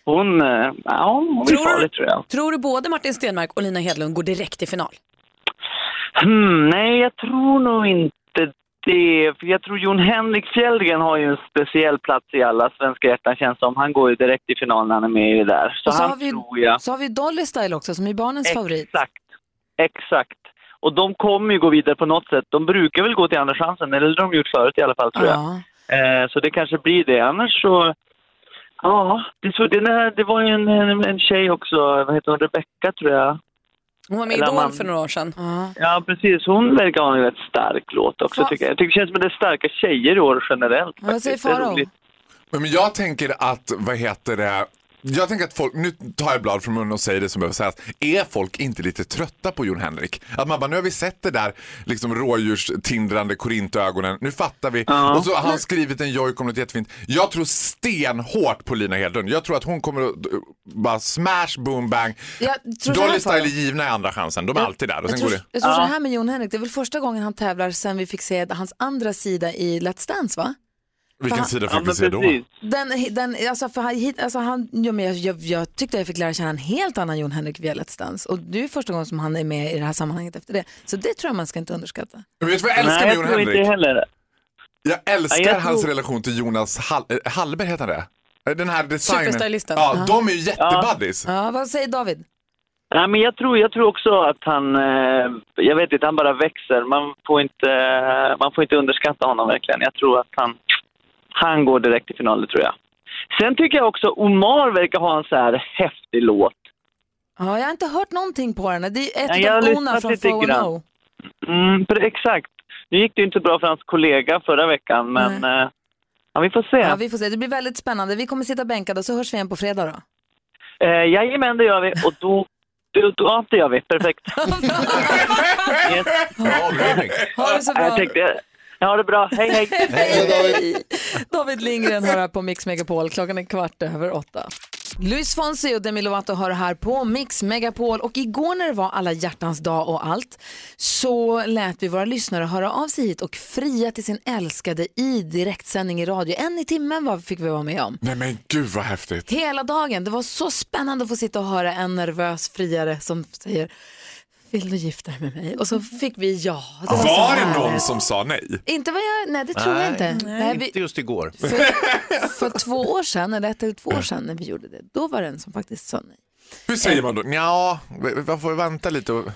Speaker 20: Hon, eh, ja, hon blir farlig tror jag.
Speaker 6: Tror du både Martin Stenmark och Lina Hedlund går direkt till final?
Speaker 20: Hmm, nej, jag tror nog inte det. För jag tror Jon Henrik Fjällgren har ju en speciell plats i alla svenska hjärtan känns som. Han går ju direkt i finalen när han är med i det där. Så,
Speaker 1: Och så,
Speaker 20: han
Speaker 1: har vi,
Speaker 20: tror jag.
Speaker 1: så har vi Dolly Style också som är barnens favorit.
Speaker 20: Exakt. Och de kommer ju gå vidare på något sätt. De brukar väl gå till Andra chansen, eller de har gjort förut i alla fall tror jag.
Speaker 1: Ja.
Speaker 20: Eh, så det kanske blir det. Annars så... Ja, det, så, det, nej, det var ju en, en, en tjej också, vad heter hon, Rebecca tror jag.
Speaker 6: Hon var med i
Speaker 20: Eller
Speaker 6: Idol
Speaker 20: man-
Speaker 6: för några år sedan.
Speaker 20: Ja, precis. Hon verkar ha en rätt stark låt också
Speaker 6: Fa-
Speaker 20: tycker jag. Jag tycker det känns som att det är starka tjejer i år generellt.
Speaker 1: Vad säger
Speaker 20: faktiskt. Det är
Speaker 1: Farao?
Speaker 20: roligt.
Speaker 15: Men men jag tänker att, vad heter det, jag tänker att folk, nu tar jag blad från munnen och säger det som behöver sägas. Är folk inte lite trötta på Jon Henrik? Att man bara, nu har vi sett det där liksom rådjurstindrande korintögonen, nu fattar vi.
Speaker 20: Ja.
Speaker 15: Och så har han
Speaker 20: Men-
Speaker 15: skrivit en jojk om något jättefint. Jag tror stenhårt på Lina Hedlund. Jag tror att hon kommer att eh, bara smash, boom, bang.
Speaker 1: Jag tror så här,
Speaker 15: Dolly Style är
Speaker 1: Farao.
Speaker 15: givna i andra chansen, de är alltid där. Och
Speaker 1: Jag
Speaker 15: sen
Speaker 1: tror,
Speaker 15: går det.
Speaker 1: jag tror så här med Jon Henrik, det är väl första gången han tävlar sen vi fick se hans andra sida i Let's Dance va?
Speaker 15: Vilken
Speaker 1: Fan.
Speaker 15: sida
Speaker 1: Ja,
Speaker 15: fick vi
Speaker 1: men
Speaker 15: se då?
Speaker 1: precis. Den, den, alltså, för han, hit- alltså, han, ja, men jag, jag, jag tyckte jag fick lära känna en helt annan Jon Henrik via Let's Dance och det är ju första gången som han är med i det här sammanhanget efter det. Så det tror jag man ska inte underskatta.
Speaker 15: Men vet du vad jag älskar
Speaker 20: Nej, jag
Speaker 15: med Jon
Speaker 20: tror
Speaker 15: Henrik?
Speaker 20: inte heller.
Speaker 15: Jag älskar
Speaker 20: Ja, jag
Speaker 15: hans
Speaker 20: tror-
Speaker 15: relation till Jonas Hall eh, Hallberg, heter han det? Eh, Den här designern.
Speaker 20: Superstylisten.
Speaker 15: Ja,
Speaker 20: Ja.
Speaker 15: de är ju jättebuddies.
Speaker 1: Ja, vad säger David?
Speaker 20: Nej, men jag tror, jag tror också att han, eh, jag vet inte, han bara växer. Man får inte, eh, man får inte underskatta honom verkligen. Jag tror att han, han går direkt till finalen tror jag. Sen tycker jag också Omar verkar ha en så här häftig låt.
Speaker 1: Ja, jag har inte hört någonting på den. Det är
Speaker 20: Ja,
Speaker 1: ett
Speaker 20: jag har
Speaker 1: av
Speaker 20: lyssnat
Speaker 1: Bona från
Speaker 20: lite grann.
Speaker 1: 410.
Speaker 20: Mm, för, exakt. Nu gick det ju inte bra för hans kollega förra veckan, men eh, ja, vi får se.
Speaker 1: Ja, vi får se. Det blir väldigt spännande. Vi kommer sitta bänkade och så hörs vi igen på fredag då.
Speaker 20: Eh, jajamän, det gör vi. Och då, då, då ja, det gör vi. Perfekt. yes.
Speaker 1: Ha det så bra.
Speaker 20: Jag tänkte, ja, ha det bra. Hej, hej.
Speaker 1: Hej, David Lindgren hör här på Mix Megapol. Klockan är kvart över åtta. Luis Fonsi och Demi Lovato hör här på Mix Megapol och igår när det var alla hjärtans dag och allt så lät vi våra lyssnare höra av sig hit och fria till sin älskade i direktsändning i radio. En i timmen var, fick vi vara med om.
Speaker 15: Nej men gud vad häftigt.
Speaker 1: Hela dagen. Det var så spännande att få sitta och höra en nervös friare som säger vill du gifta dig med mig? Och så fick vi ja. Det var, så
Speaker 15: Var det någon
Speaker 1: härligt.
Speaker 15: som sa nej?
Speaker 1: Inte vad jag, nej det tror jag inte. Nej, vi,
Speaker 4: Inte just igår.
Speaker 1: för två år sedan, eller ett eller två år sedan när vi gjorde det, då var det en som faktiskt sa nej.
Speaker 15: Hur säger man då? Ja, man får vänta lite och...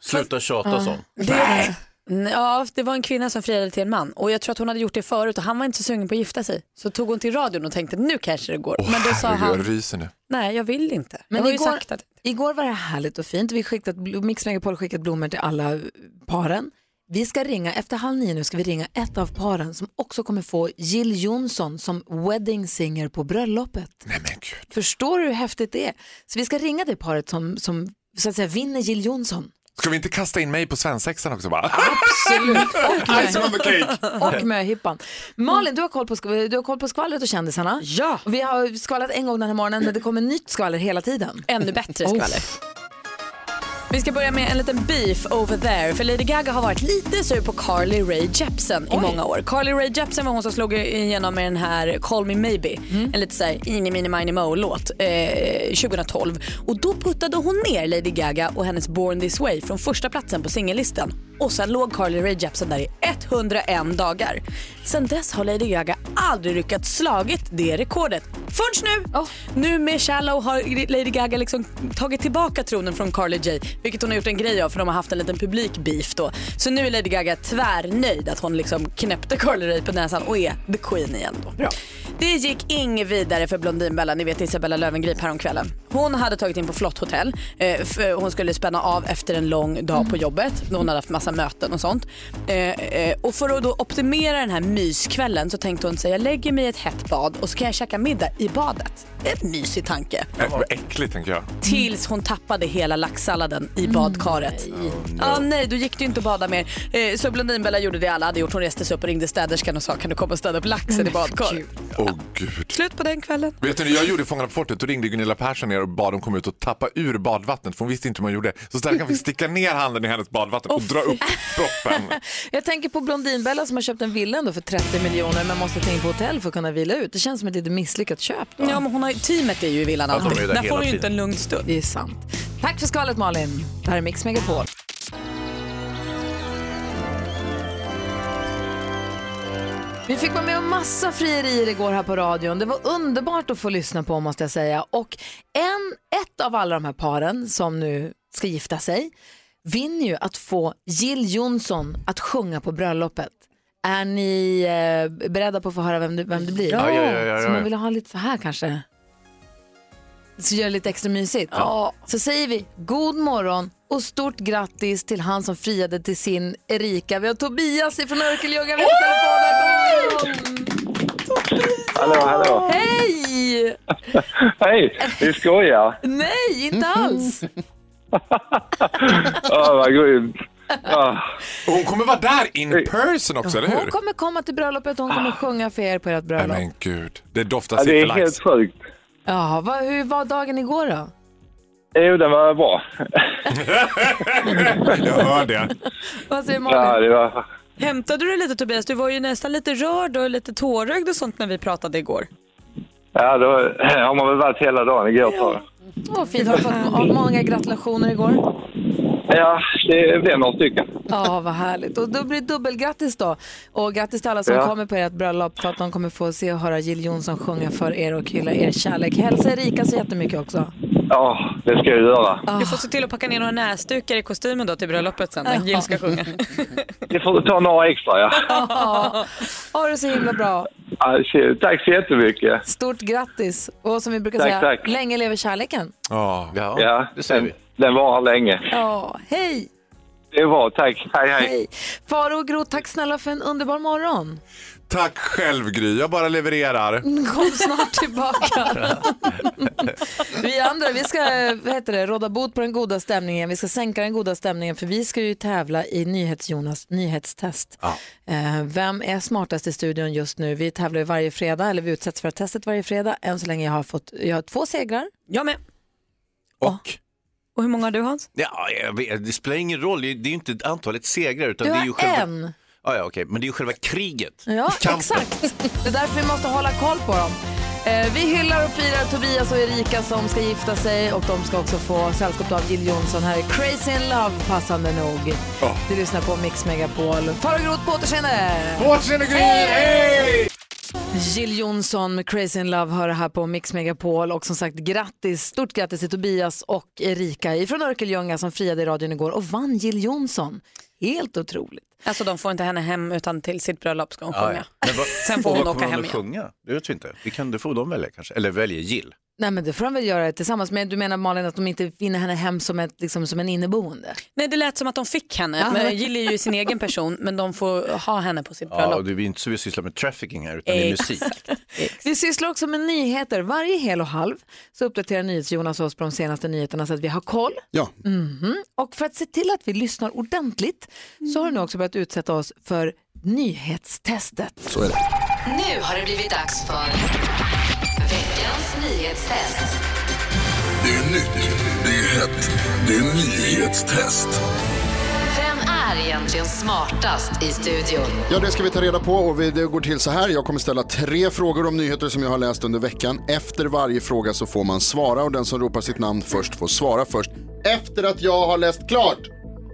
Speaker 4: sluta tjata
Speaker 6: Ja. Ah. Det, ja, det var en kvinna som friade till en man och jag tror att hon hade gjort det förut och han var inte så sugen på att gifta sig. Så tog hon till radion och tänkte nu kanske det går. Men då sa
Speaker 15: Herregud,
Speaker 6: han
Speaker 15: jag ryser nu.
Speaker 6: nej jag vill inte.
Speaker 1: Men
Speaker 6: jag har ju
Speaker 1: igår,
Speaker 6: sagt att...
Speaker 1: igår var det härligt och fint. Vi skickat, bl- Mix Megapol har skickat blommor till alla eh, paren. Vi ska ringa, efter halv nio nu ska vi ringa ett av paren som också kommer få Jill Johnson som wedding singer på bröllopet.
Speaker 15: Nej, men gud.
Speaker 1: Förstår du hur häftigt det är? Så vi ska ringa det paret som, som så att säga vinner Jill Johnson.
Speaker 15: Ska vi inte kasta in mig på svensexan också bara?
Speaker 1: Absolut.
Speaker 15: Icing on the cake.
Speaker 1: och möhippan. Malin, du har, koll på sk- du har koll på skvallret och kändisarna. Ja. Vi har skvallrat en gång den här morgonen, men det kommer nytt skvaller hela tiden.
Speaker 6: Ännu bättre skvaller. Vi ska börja med en liten beef over there. För Lady Gaga har varit lite sur på Carly Rae Jepsen i många år. Carly Rae Jepsen var hon som slog igenom med den här Call Me Maybe. En lite såhär eeny meeny miny moe låt eh, 2012. Och då puttade hon ner Lady Gaga och hennes Born This Way från första platsen på singellistan. Och sen låg Carly Rae Jepsen där i 101 dagar. Sen dess har Lady Gaga aldrig lyckats slagit det rekordet. Först nu! Nu med Shallow har Lady Gaga liksom tagit tillbaka tronen från Carly J, vilket hon har gjort en grej av för de har haft en liten publikbeef då. Så nu är Lady Gaga tvärnöjd att hon liksom knäppte Carly Rae på näsan och är the queen igen då. Det gick inget vidare för Blondinbella, ni vet Isabella Löwengrip häromkvällen. Hon hade tagit in på flott hotell. eh, för Hon skulle spänna av efter en lång dag på jobbet. Hon hade haft massa möten och sånt. Eh, eh, Och för att då optimera den här myskvällen så tänkte hon sig jag lägger mig i ett hett bad och så kan jag käka middag i badet. En mysig tanke.
Speaker 15: Äh, Vad äckligt tänker jag.
Speaker 6: Tills hon tappade hela laxsalladen i badkaret. ah, Mm. nej, då gick det ju inte att bada mer. Eh, Så Blondinbella gjorde det alla hade gjort. Hon reste sig upp och ringde städerskan och sa kan du komma och städa upp laxen i badkaret.
Speaker 15: Åh gud.
Speaker 6: Slut på den kvällen.
Speaker 15: Vet du, när jag gjorde Fångarna på fortet då ringde Gunilla Persson ner och bad dem komma ut och tappa ur badvattnet för hon visste inte hur man gjorde. Så Sterkan fick sticka ner handen i hennes badvatten och dra upp proppen.
Speaker 1: Jag tänker på Blondinbella som har köpt en villa ändå för 30 miljoner men måste ta in på hotell för att kunna vila ut. Det känns som ett lite misslyckat köp. Då.
Speaker 6: Ja, men hon har, ju- teamet är ju i villan
Speaker 1: Ja, de är
Speaker 6: alltid.
Speaker 1: ju där
Speaker 6: Där
Speaker 1: hela
Speaker 6: får hon ju inte
Speaker 1: tiden.
Speaker 6: en lugn stund.
Speaker 1: Det är sant. Tack för skvallret Malin. Det här är Mix Megapol. Vi fick vara med om massa frierier igår här på radion. Det var underbart att få lyssna på måste jag säga. Och en, ett av alla de här paren som nu ska gifta sig vinner ju att få Jill Johnson att sjunga på bröllopet. Är ni eh, beredda på att få höra vem det, vem det blir?
Speaker 4: Ja, ja, ja, ja,
Speaker 1: Så
Speaker 4: ja.
Speaker 1: man vill ha lite så här kanske. Så gör det lite extra mysigt.
Speaker 4: Ja.
Speaker 1: Så säger vi god morgon och stort grattis till han som friade till sin Erika. Vi har Tobias från Örkelljunga med på telefonen. God morgon!
Speaker 12: Hallå, hallå.
Speaker 1: Hej!
Speaker 12: Hej, du skojar?
Speaker 1: Nej, inte
Speaker 15: Mm-hmm.
Speaker 1: alls.
Speaker 12: Ja, Ah, vad Ah. grymt. Ja.
Speaker 15: Och hon kommer vara där in person också, eller
Speaker 1: Hon
Speaker 15: hur? Ah.
Speaker 1: kommer komma till bröllopet och hon kommer sjunga för er på ert
Speaker 15: Nej
Speaker 1: bröllop.
Speaker 15: men gud, det doftar
Speaker 12: Ja, det är
Speaker 15: sifferlax.
Speaker 12: helt sjukt.
Speaker 1: Ja, vad, hur var dagen igår då?
Speaker 12: Jo, den var bra.
Speaker 15: Jag hör det.
Speaker 1: Vad säger Malin?
Speaker 12: Ja, det var...
Speaker 6: Hämtade du dig lite Tobias? Du var ju nästan lite rörd och lite tårögd och sånt när vi pratade igår.
Speaker 12: Ja, då har man väl varit hela dagen igår, tror jag.
Speaker 1: Vad fint. Har du fått må- många gratulationer igår?
Speaker 12: Ja, det blev några stycken.
Speaker 1: Ja, vad härligt. Och då blir det dubbelgrattis då. Och grattis till alla som
Speaker 12: Ja.
Speaker 1: kommer på ert bröllop för att de kommer få se och höra Jill Johnson sjunga för er och hylla er kärlek. Hälsa Erika så jättemycket också.
Speaker 12: Ja, det ska jag göra.
Speaker 5: Ah.
Speaker 6: Du får se till att packa ner några näsdukar i kostymen då till bröllopet sen när Jill ska sjunga.
Speaker 12: Det får du ta några extra, ja.
Speaker 1: Ja. Ha det så himla bra.
Speaker 12: ja shit. tack så jättemycket.
Speaker 1: Stort grattis. Och som vi brukar
Speaker 12: Tack,
Speaker 1: säga,
Speaker 12: tack.
Speaker 1: länge lever kärleken.
Speaker 12: Ja, det säger den, vi. Den varar länge.
Speaker 1: Ja, hej!
Speaker 20: Det var, tack. Hej, hej.
Speaker 1: Faro och Gro, tack snälla för en underbar morgon.
Speaker 15: Tack själv Gry, jag bara levererar.
Speaker 1: Kom snart tillbaka. vi andra, vi ska vad heter det, råda bot på den goda stämningen. Vi ska sänka den goda stämningen för vi ska ju tävla i NyhetsJonas nyhetstest. Eh, Vem är smartast i studion just nu? Vi tävlar ju varje fredag, eller vi utsätts för testet varje fredag. Än så länge jag har fått jag har två segrar.
Speaker 5: Jag med.
Speaker 3: Och?
Speaker 5: Och hur många har du Hans?
Speaker 3: Ja, jag vet, det spelar ingen roll, det är ju inte antalet segrar. Utan
Speaker 1: Du
Speaker 3: det är ju
Speaker 1: har
Speaker 3: själva...
Speaker 1: en.
Speaker 3: Ja, ja, okej. Men det är ju själva kriget.
Speaker 1: Ja,
Speaker 3: Kampen.
Speaker 1: exakt. Det är därför vi måste hålla koll på dem. Eh, vi hyllar och firar Tobias och Erika som ska gifta sig och de ska också få sällskap av Jill Johnson här i Crazy in Love, passande nog. Du lyssnar på Mix Megapol. Far och grot, på återseende!
Speaker 4: På återseende, Gry! Hej!
Speaker 1: Jill Johnson med Crazy in Love hör här på Mix Megapol och som sagt grattis, stort grattis till Tobias och Erika ifrån Örkelljunga som friade i radion igår och vann Jill Johnson. Helt otroligt.
Speaker 5: Alltså de får inte henne hem utan till sitt bröllop ska hon
Speaker 3: Ja,
Speaker 5: sjunga.
Speaker 3: ja. Men vad-
Speaker 5: Sen får
Speaker 3: och
Speaker 5: hon
Speaker 3: vad
Speaker 5: åka
Speaker 3: kommer
Speaker 5: hem
Speaker 3: att
Speaker 5: igen.
Speaker 3: sjunga? Det vet vi inte. Det kan det får de välja kanske. Eller väljer Jill.
Speaker 1: Nej men det får de väl göra tillsammans. Men du menar Malin att de inte vinner henne hem som, ett, liksom, som en inneboende?
Speaker 5: Nej det lät som att de fick henne.
Speaker 1: Ja.
Speaker 5: Men Jill är ju sin egen person men de får ha henne på sitt
Speaker 3: Ja,
Speaker 5: bröllop.
Speaker 3: och det är inte så vi sysslar med trafficking här, utan det
Speaker 5: Eh,
Speaker 3: är musik.
Speaker 1: Vi sysslar också med nyheter. Varje hel och halv så uppdaterar NyhetsJonas oss på de senaste nyheterna så att vi har koll.
Speaker 8: Ja.
Speaker 1: Mhm. Och för att se till att vi lyssnar ordentligt så har du nu också börjat utsätta oss för nyhetstestet.
Speaker 8: Så är det.
Speaker 16: Nu har det blivit dags för veckans nyhetstest.
Speaker 13: Det är nytt, det är hett, det är nyhetstest.
Speaker 16: Vem är egentligen smartast i studion?
Speaker 8: Ja, det ska vi ta reda på och vi- det går till så här. Jag kommer ställa tre frågor om nyheter som jag har läst under veckan. Efter varje fråga så får man svara och den som ropar sitt namn först får svara först. Efter att jag har läst klart.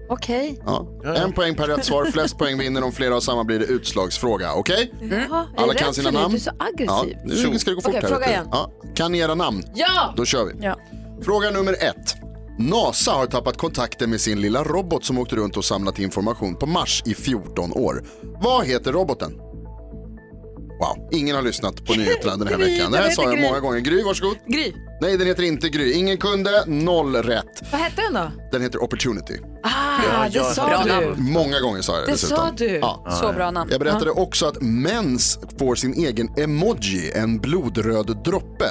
Speaker 1: Okej.
Speaker 8: Ja. En poäng per rätt svar, flest poäng vinner. Om flera av samma blir det utslagsfråga. Okej?
Speaker 1: Jaha, är
Speaker 8: Mm. Alla
Speaker 1: det
Speaker 8: kan
Speaker 1: rätt
Speaker 8: sina
Speaker 1: för dig?
Speaker 8: namn.
Speaker 1: Du är så aggressiv.
Speaker 8: Ja, nu ska det gå fort
Speaker 1: Okej,
Speaker 8: här.
Speaker 1: fråga
Speaker 8: vet du.
Speaker 1: igen.
Speaker 8: Ja. Kan ni era namn?
Speaker 1: Ja!
Speaker 8: Då kör vi. Fråga nummer ett. NASA har tappat kontakten med sin lilla robot som åkte runt och samlat information på Mars i 14 år. Vad heter roboten? Wow, ingen har lyssnat på nyheterna den här
Speaker 4: Gry,
Speaker 8: veckan. Det
Speaker 4: den
Speaker 8: här
Speaker 4: heter
Speaker 8: sa jag
Speaker 4: Gry.
Speaker 8: många gånger. Gry, varsågod.
Speaker 1: Gry.
Speaker 8: Nej, den heter inte Gry. Ingen kunde. Noll rätt.
Speaker 1: Vad hette den då?
Speaker 8: Den heter Opportunity.
Speaker 1: Ah, det sa du.
Speaker 8: Många gånger sa jag det
Speaker 1: Det
Speaker 8: dessutom.
Speaker 1: sa du. Så bra namn.
Speaker 8: Jag berättade också att mens får sin egen emoji, en blodröd droppe.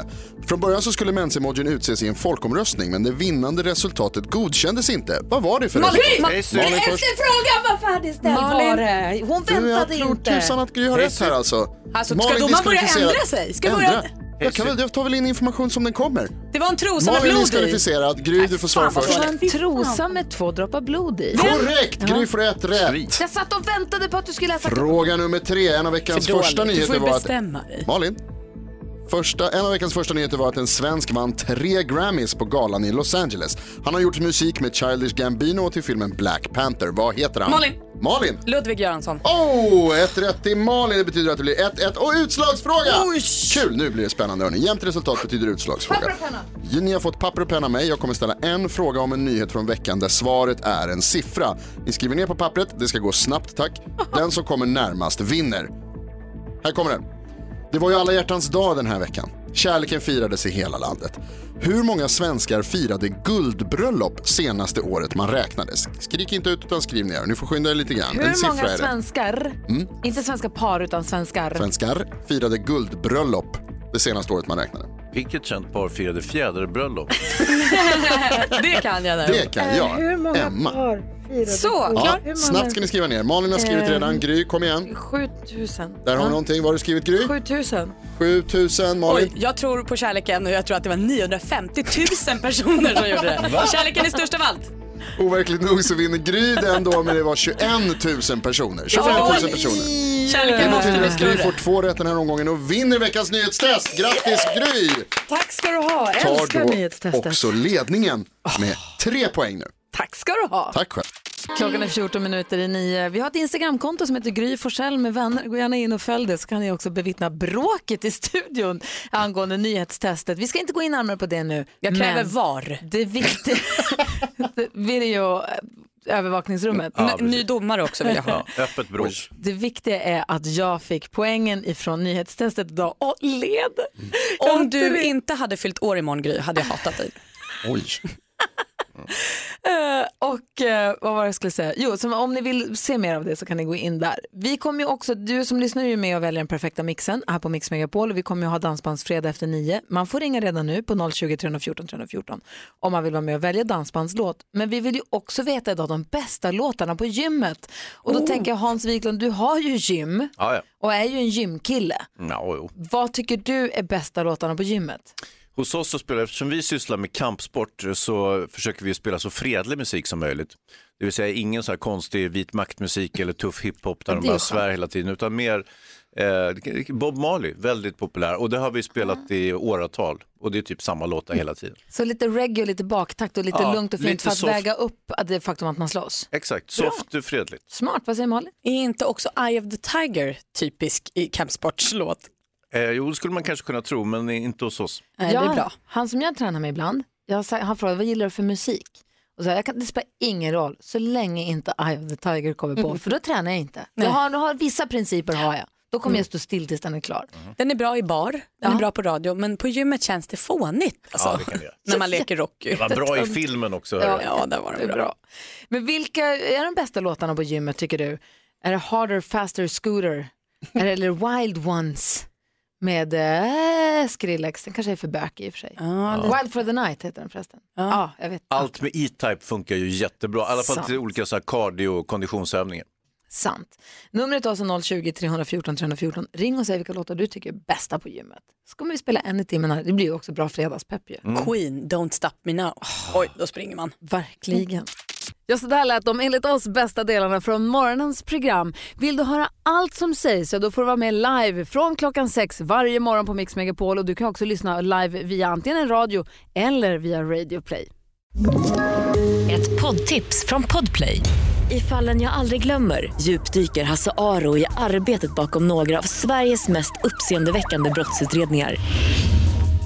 Speaker 8: Från början så skulle mens-emojin utses i en folkomröstning, men det vinnande resultatet godkändes inte. Vad var det för resultat?
Speaker 1: frågan var färdigställd
Speaker 5: Malin.
Speaker 1: var det. Hon
Speaker 8: Du, jag
Speaker 1: väntade
Speaker 8: tror
Speaker 1: inte.
Speaker 8: tusan att Gry har rätt här alltså.
Speaker 5: Alltså, ska
Speaker 8: Malin
Speaker 5: domaren börja
Speaker 8: diskvalificerad.
Speaker 5: ändra sig? Ska
Speaker 8: ändra?
Speaker 5: börja-
Speaker 8: Jag, kan väl, jag tar väl in information som den kommer.
Speaker 5: Det var en trosa med
Speaker 8: Malin
Speaker 5: blod i.
Speaker 8: diskvalificerad. Gry, du får svara
Speaker 1: Fan, vad
Speaker 8: först.
Speaker 1: dåligt. Det var en trosa med två droppar blod i.
Speaker 8: Korrekt!
Speaker 1: Ja.
Speaker 8: Gry får ett rätt.
Speaker 1: Jag satt och väntade på att du skulle läsa
Speaker 8: Fråga nummer tre. En av veckans
Speaker 1: För dåligt.
Speaker 8: första
Speaker 1: Du får
Speaker 8: nyheter
Speaker 1: ju
Speaker 8: var
Speaker 1: bestämma dig.
Speaker 8: att... Malin? Första, en av veckans första nyheter var att en svensk vann tre Grammys på galan i Los Angeles. Han har gjort musik med Childish Gambino till filmen Black Panther. Vad heter han?
Speaker 5: Malin.
Speaker 8: Malin!
Speaker 5: Ludvig Göransson.
Speaker 8: Oh, ett rätt till Malin. Det betyder att det blir 1-1 och utslagsfråga! Kul, nu blir det spännande. Hörni. Jämnt resultat betyder utslagsfråga. Ni har fått papper och penna av mig. Jag kommer ställa en fråga om en nyhet från veckan där svaret är en siffra. Ni skriver ner på pappret. Det ska gå snabbt, tack. Den som kommer närmast vinner. Här kommer den. Det var ju alla hjärtans dag den här veckan. Kärleken firades i hela landet. Hur många svenskar firade guldbröllop senaste året man räknades? Skrik inte ut utan skriv ner. Ni får skynda er lite grann. en
Speaker 1: Hur
Speaker 8: siffra
Speaker 1: många
Speaker 8: är det.
Speaker 1: svenskar,
Speaker 8: Mm.
Speaker 1: inte svenska par utan svenskar,
Speaker 8: Svenskar firade guldbröllop det senaste året man räknade.
Speaker 3: Vilket känt par firade fjäderbröllop?
Speaker 5: det kan jag
Speaker 8: Det kan
Speaker 1: Eh,
Speaker 8: jag. Emma.
Speaker 5: Så,
Speaker 8: Ja, snabbt ska ni skriva ner. Malin har skrivit
Speaker 1: Eh,
Speaker 8: redan. Gry, kom igen.
Speaker 1: 7000.
Speaker 8: Där har vi någonting. Vad har du skrivit Gry?
Speaker 1: 7000.
Speaker 8: 7000. Malin?
Speaker 5: Oj, jag tror på kärleken och jag tror att det var 950 000 personer som gjorde
Speaker 8: Va?
Speaker 5: det. Kärleken är störst av allt.
Speaker 8: Overkligt nog så vinner Gry den då, men det var 21 000 personer. 25 000 personer. Det
Speaker 5: Kärleken måste
Speaker 8: betyder
Speaker 5: bli
Speaker 8: att Gry får
Speaker 5: större.
Speaker 8: två rätt den här omgången och vinner veckans nyhetstest. Grattis Gry!
Speaker 1: Tack ska du ha, älskar
Speaker 8: Tar då
Speaker 1: nyhetstestet.
Speaker 8: också ledningen med tre poäng nu.
Speaker 1: Tack ska du ha.
Speaker 8: Tack själv.
Speaker 1: Klockan är 14 minuter i nio. Vi har ett Instagramkonto som heter Gry Forssell med vänner. Gå gärna in och följ det så kan ni också bevittna bråket i studion angående nyhetstestet. Vi ska inte gå in närmare på det nu.
Speaker 5: Jag kräver
Speaker 1: men
Speaker 5: VAR.
Speaker 1: Det viktiga, eh, videoövervakningsrummet.
Speaker 5: N- Ny domare också vill jag ha.
Speaker 3: Öppet bråk.
Speaker 1: Det viktiga är att jag fick poängen ifrån nyhetstestet idag och led.
Speaker 6: Mm.
Speaker 5: Om du inte hade fyllt år imorgon Gry hade jag hatat dig.
Speaker 8: Oj.
Speaker 1: Eh, och Och eh, vad var det jag skulle säga? Jo, så om ni vill se mer av det så kan ni gå in där. Vi kommer ju också, du som lyssnar är ju med och väljer den perfekta mixen här på Mix Megapol och vi kommer ju ha dansbandsfredag efter nio. Man får ringa redan nu på 020 314 314 om man vill vara med och välja dansbandslåt. Men vi vill ju också veta idag de bästa låtarna på gymmet. Och då
Speaker 3: Oh.
Speaker 1: tänker jag Hans Wiklund, du har ju gym
Speaker 3: Ja, ja.
Speaker 1: och är ju en gymkille.
Speaker 3: Ja, jo.
Speaker 1: Vad tycker du är bästa låtarna på gymmet?
Speaker 3: Hos oss så spelar, eftersom vi sysslar med kampsport så försöker vi spela så fredlig musik som möjligt. Det vill säga ingen så här konstig vit maktmusik eller tuff hiphop där
Speaker 13: Ja,
Speaker 3: de
Speaker 13: det är
Speaker 3: bara
Speaker 13: skönt.
Speaker 3: svär hela tiden utan mer eh, Bob Marley, väldigt populär och det har vi spelat i åratal och det är typ samma låtar hela tiden.
Speaker 1: Så lite reggae och lite baktakt och lite
Speaker 3: Ja,
Speaker 1: lugnt och fint
Speaker 3: lite
Speaker 1: för att
Speaker 3: soft.
Speaker 1: väga upp att det faktum att man slåss.
Speaker 3: Exakt, soft och fredligt.
Speaker 1: Smart, vad säger Malin?
Speaker 6: Är inte också Eye of the Tiger typisk i kampsportslåt?
Speaker 3: Eh, jo, det skulle man kanske kunna tro men inte hos oss.
Speaker 6: eh,
Speaker 1: Jag- Han som jag tränar med ibland, jag har sagt, han frågar vad gillar du för musik? Och så här, jag kan, det spelar ingen roll så länge inte Eye of the Tiger kommer på,
Speaker 6: Mm.
Speaker 1: för då tränar jag inte.
Speaker 6: Nej.
Speaker 1: Jag har, jag har, vissa principer har jag, då kommer
Speaker 6: Mm.
Speaker 1: jag stå still tills den är klar.
Speaker 6: Den är bra i bar, den är bra på radio, men på gymmet känns det fånigt alltså,
Speaker 3: Ja, det kan det göra.
Speaker 6: när man leker Rocky.
Speaker 3: Det var bra i filmen också.
Speaker 1: Ja,
Speaker 3: hörru.
Speaker 1: ja, där var den Det är bra. bra. Men vilka är de bästa låtarna på gymmet tycker du? Är det Harder, Faster, Scooter? Är det, eller Wild Ones med eh, Skrillex? Den kanske är för bökig i och för sig. Wild for the Night heter den förresten. Ja, jag vet.
Speaker 3: Allt med E-Type funkar ju jättebra, i alla fall till
Speaker 1: Sant.
Speaker 3: olika så här cardio och konditionsövningar.
Speaker 1: Sant. Numret är alltså 020-314 314. Ring och säg vilka låtar du tycker är bästa på gymmet. Så kommer vi spela en i timmen här. Det blir ju också bra fredagspepp ju.
Speaker 6: Mm. Queen, Don't stop me now. Oj, då springer man.
Speaker 1: Verkligen. Ja, så där lät de enligt oss bästa delarna från morgonens program. Vill du höra allt som sägs så då får du vara med live från klockan sex varje morgon på Mix Megapol och du kan också lyssna live via antingen en radio eller via Radio Play.
Speaker 21: Ett poddtips från Podplay. I fallen jag aldrig glömmer djupdyker Hasse Aro i arbetet bakom några av Sveriges mest uppseendeväckande brottsutredningar.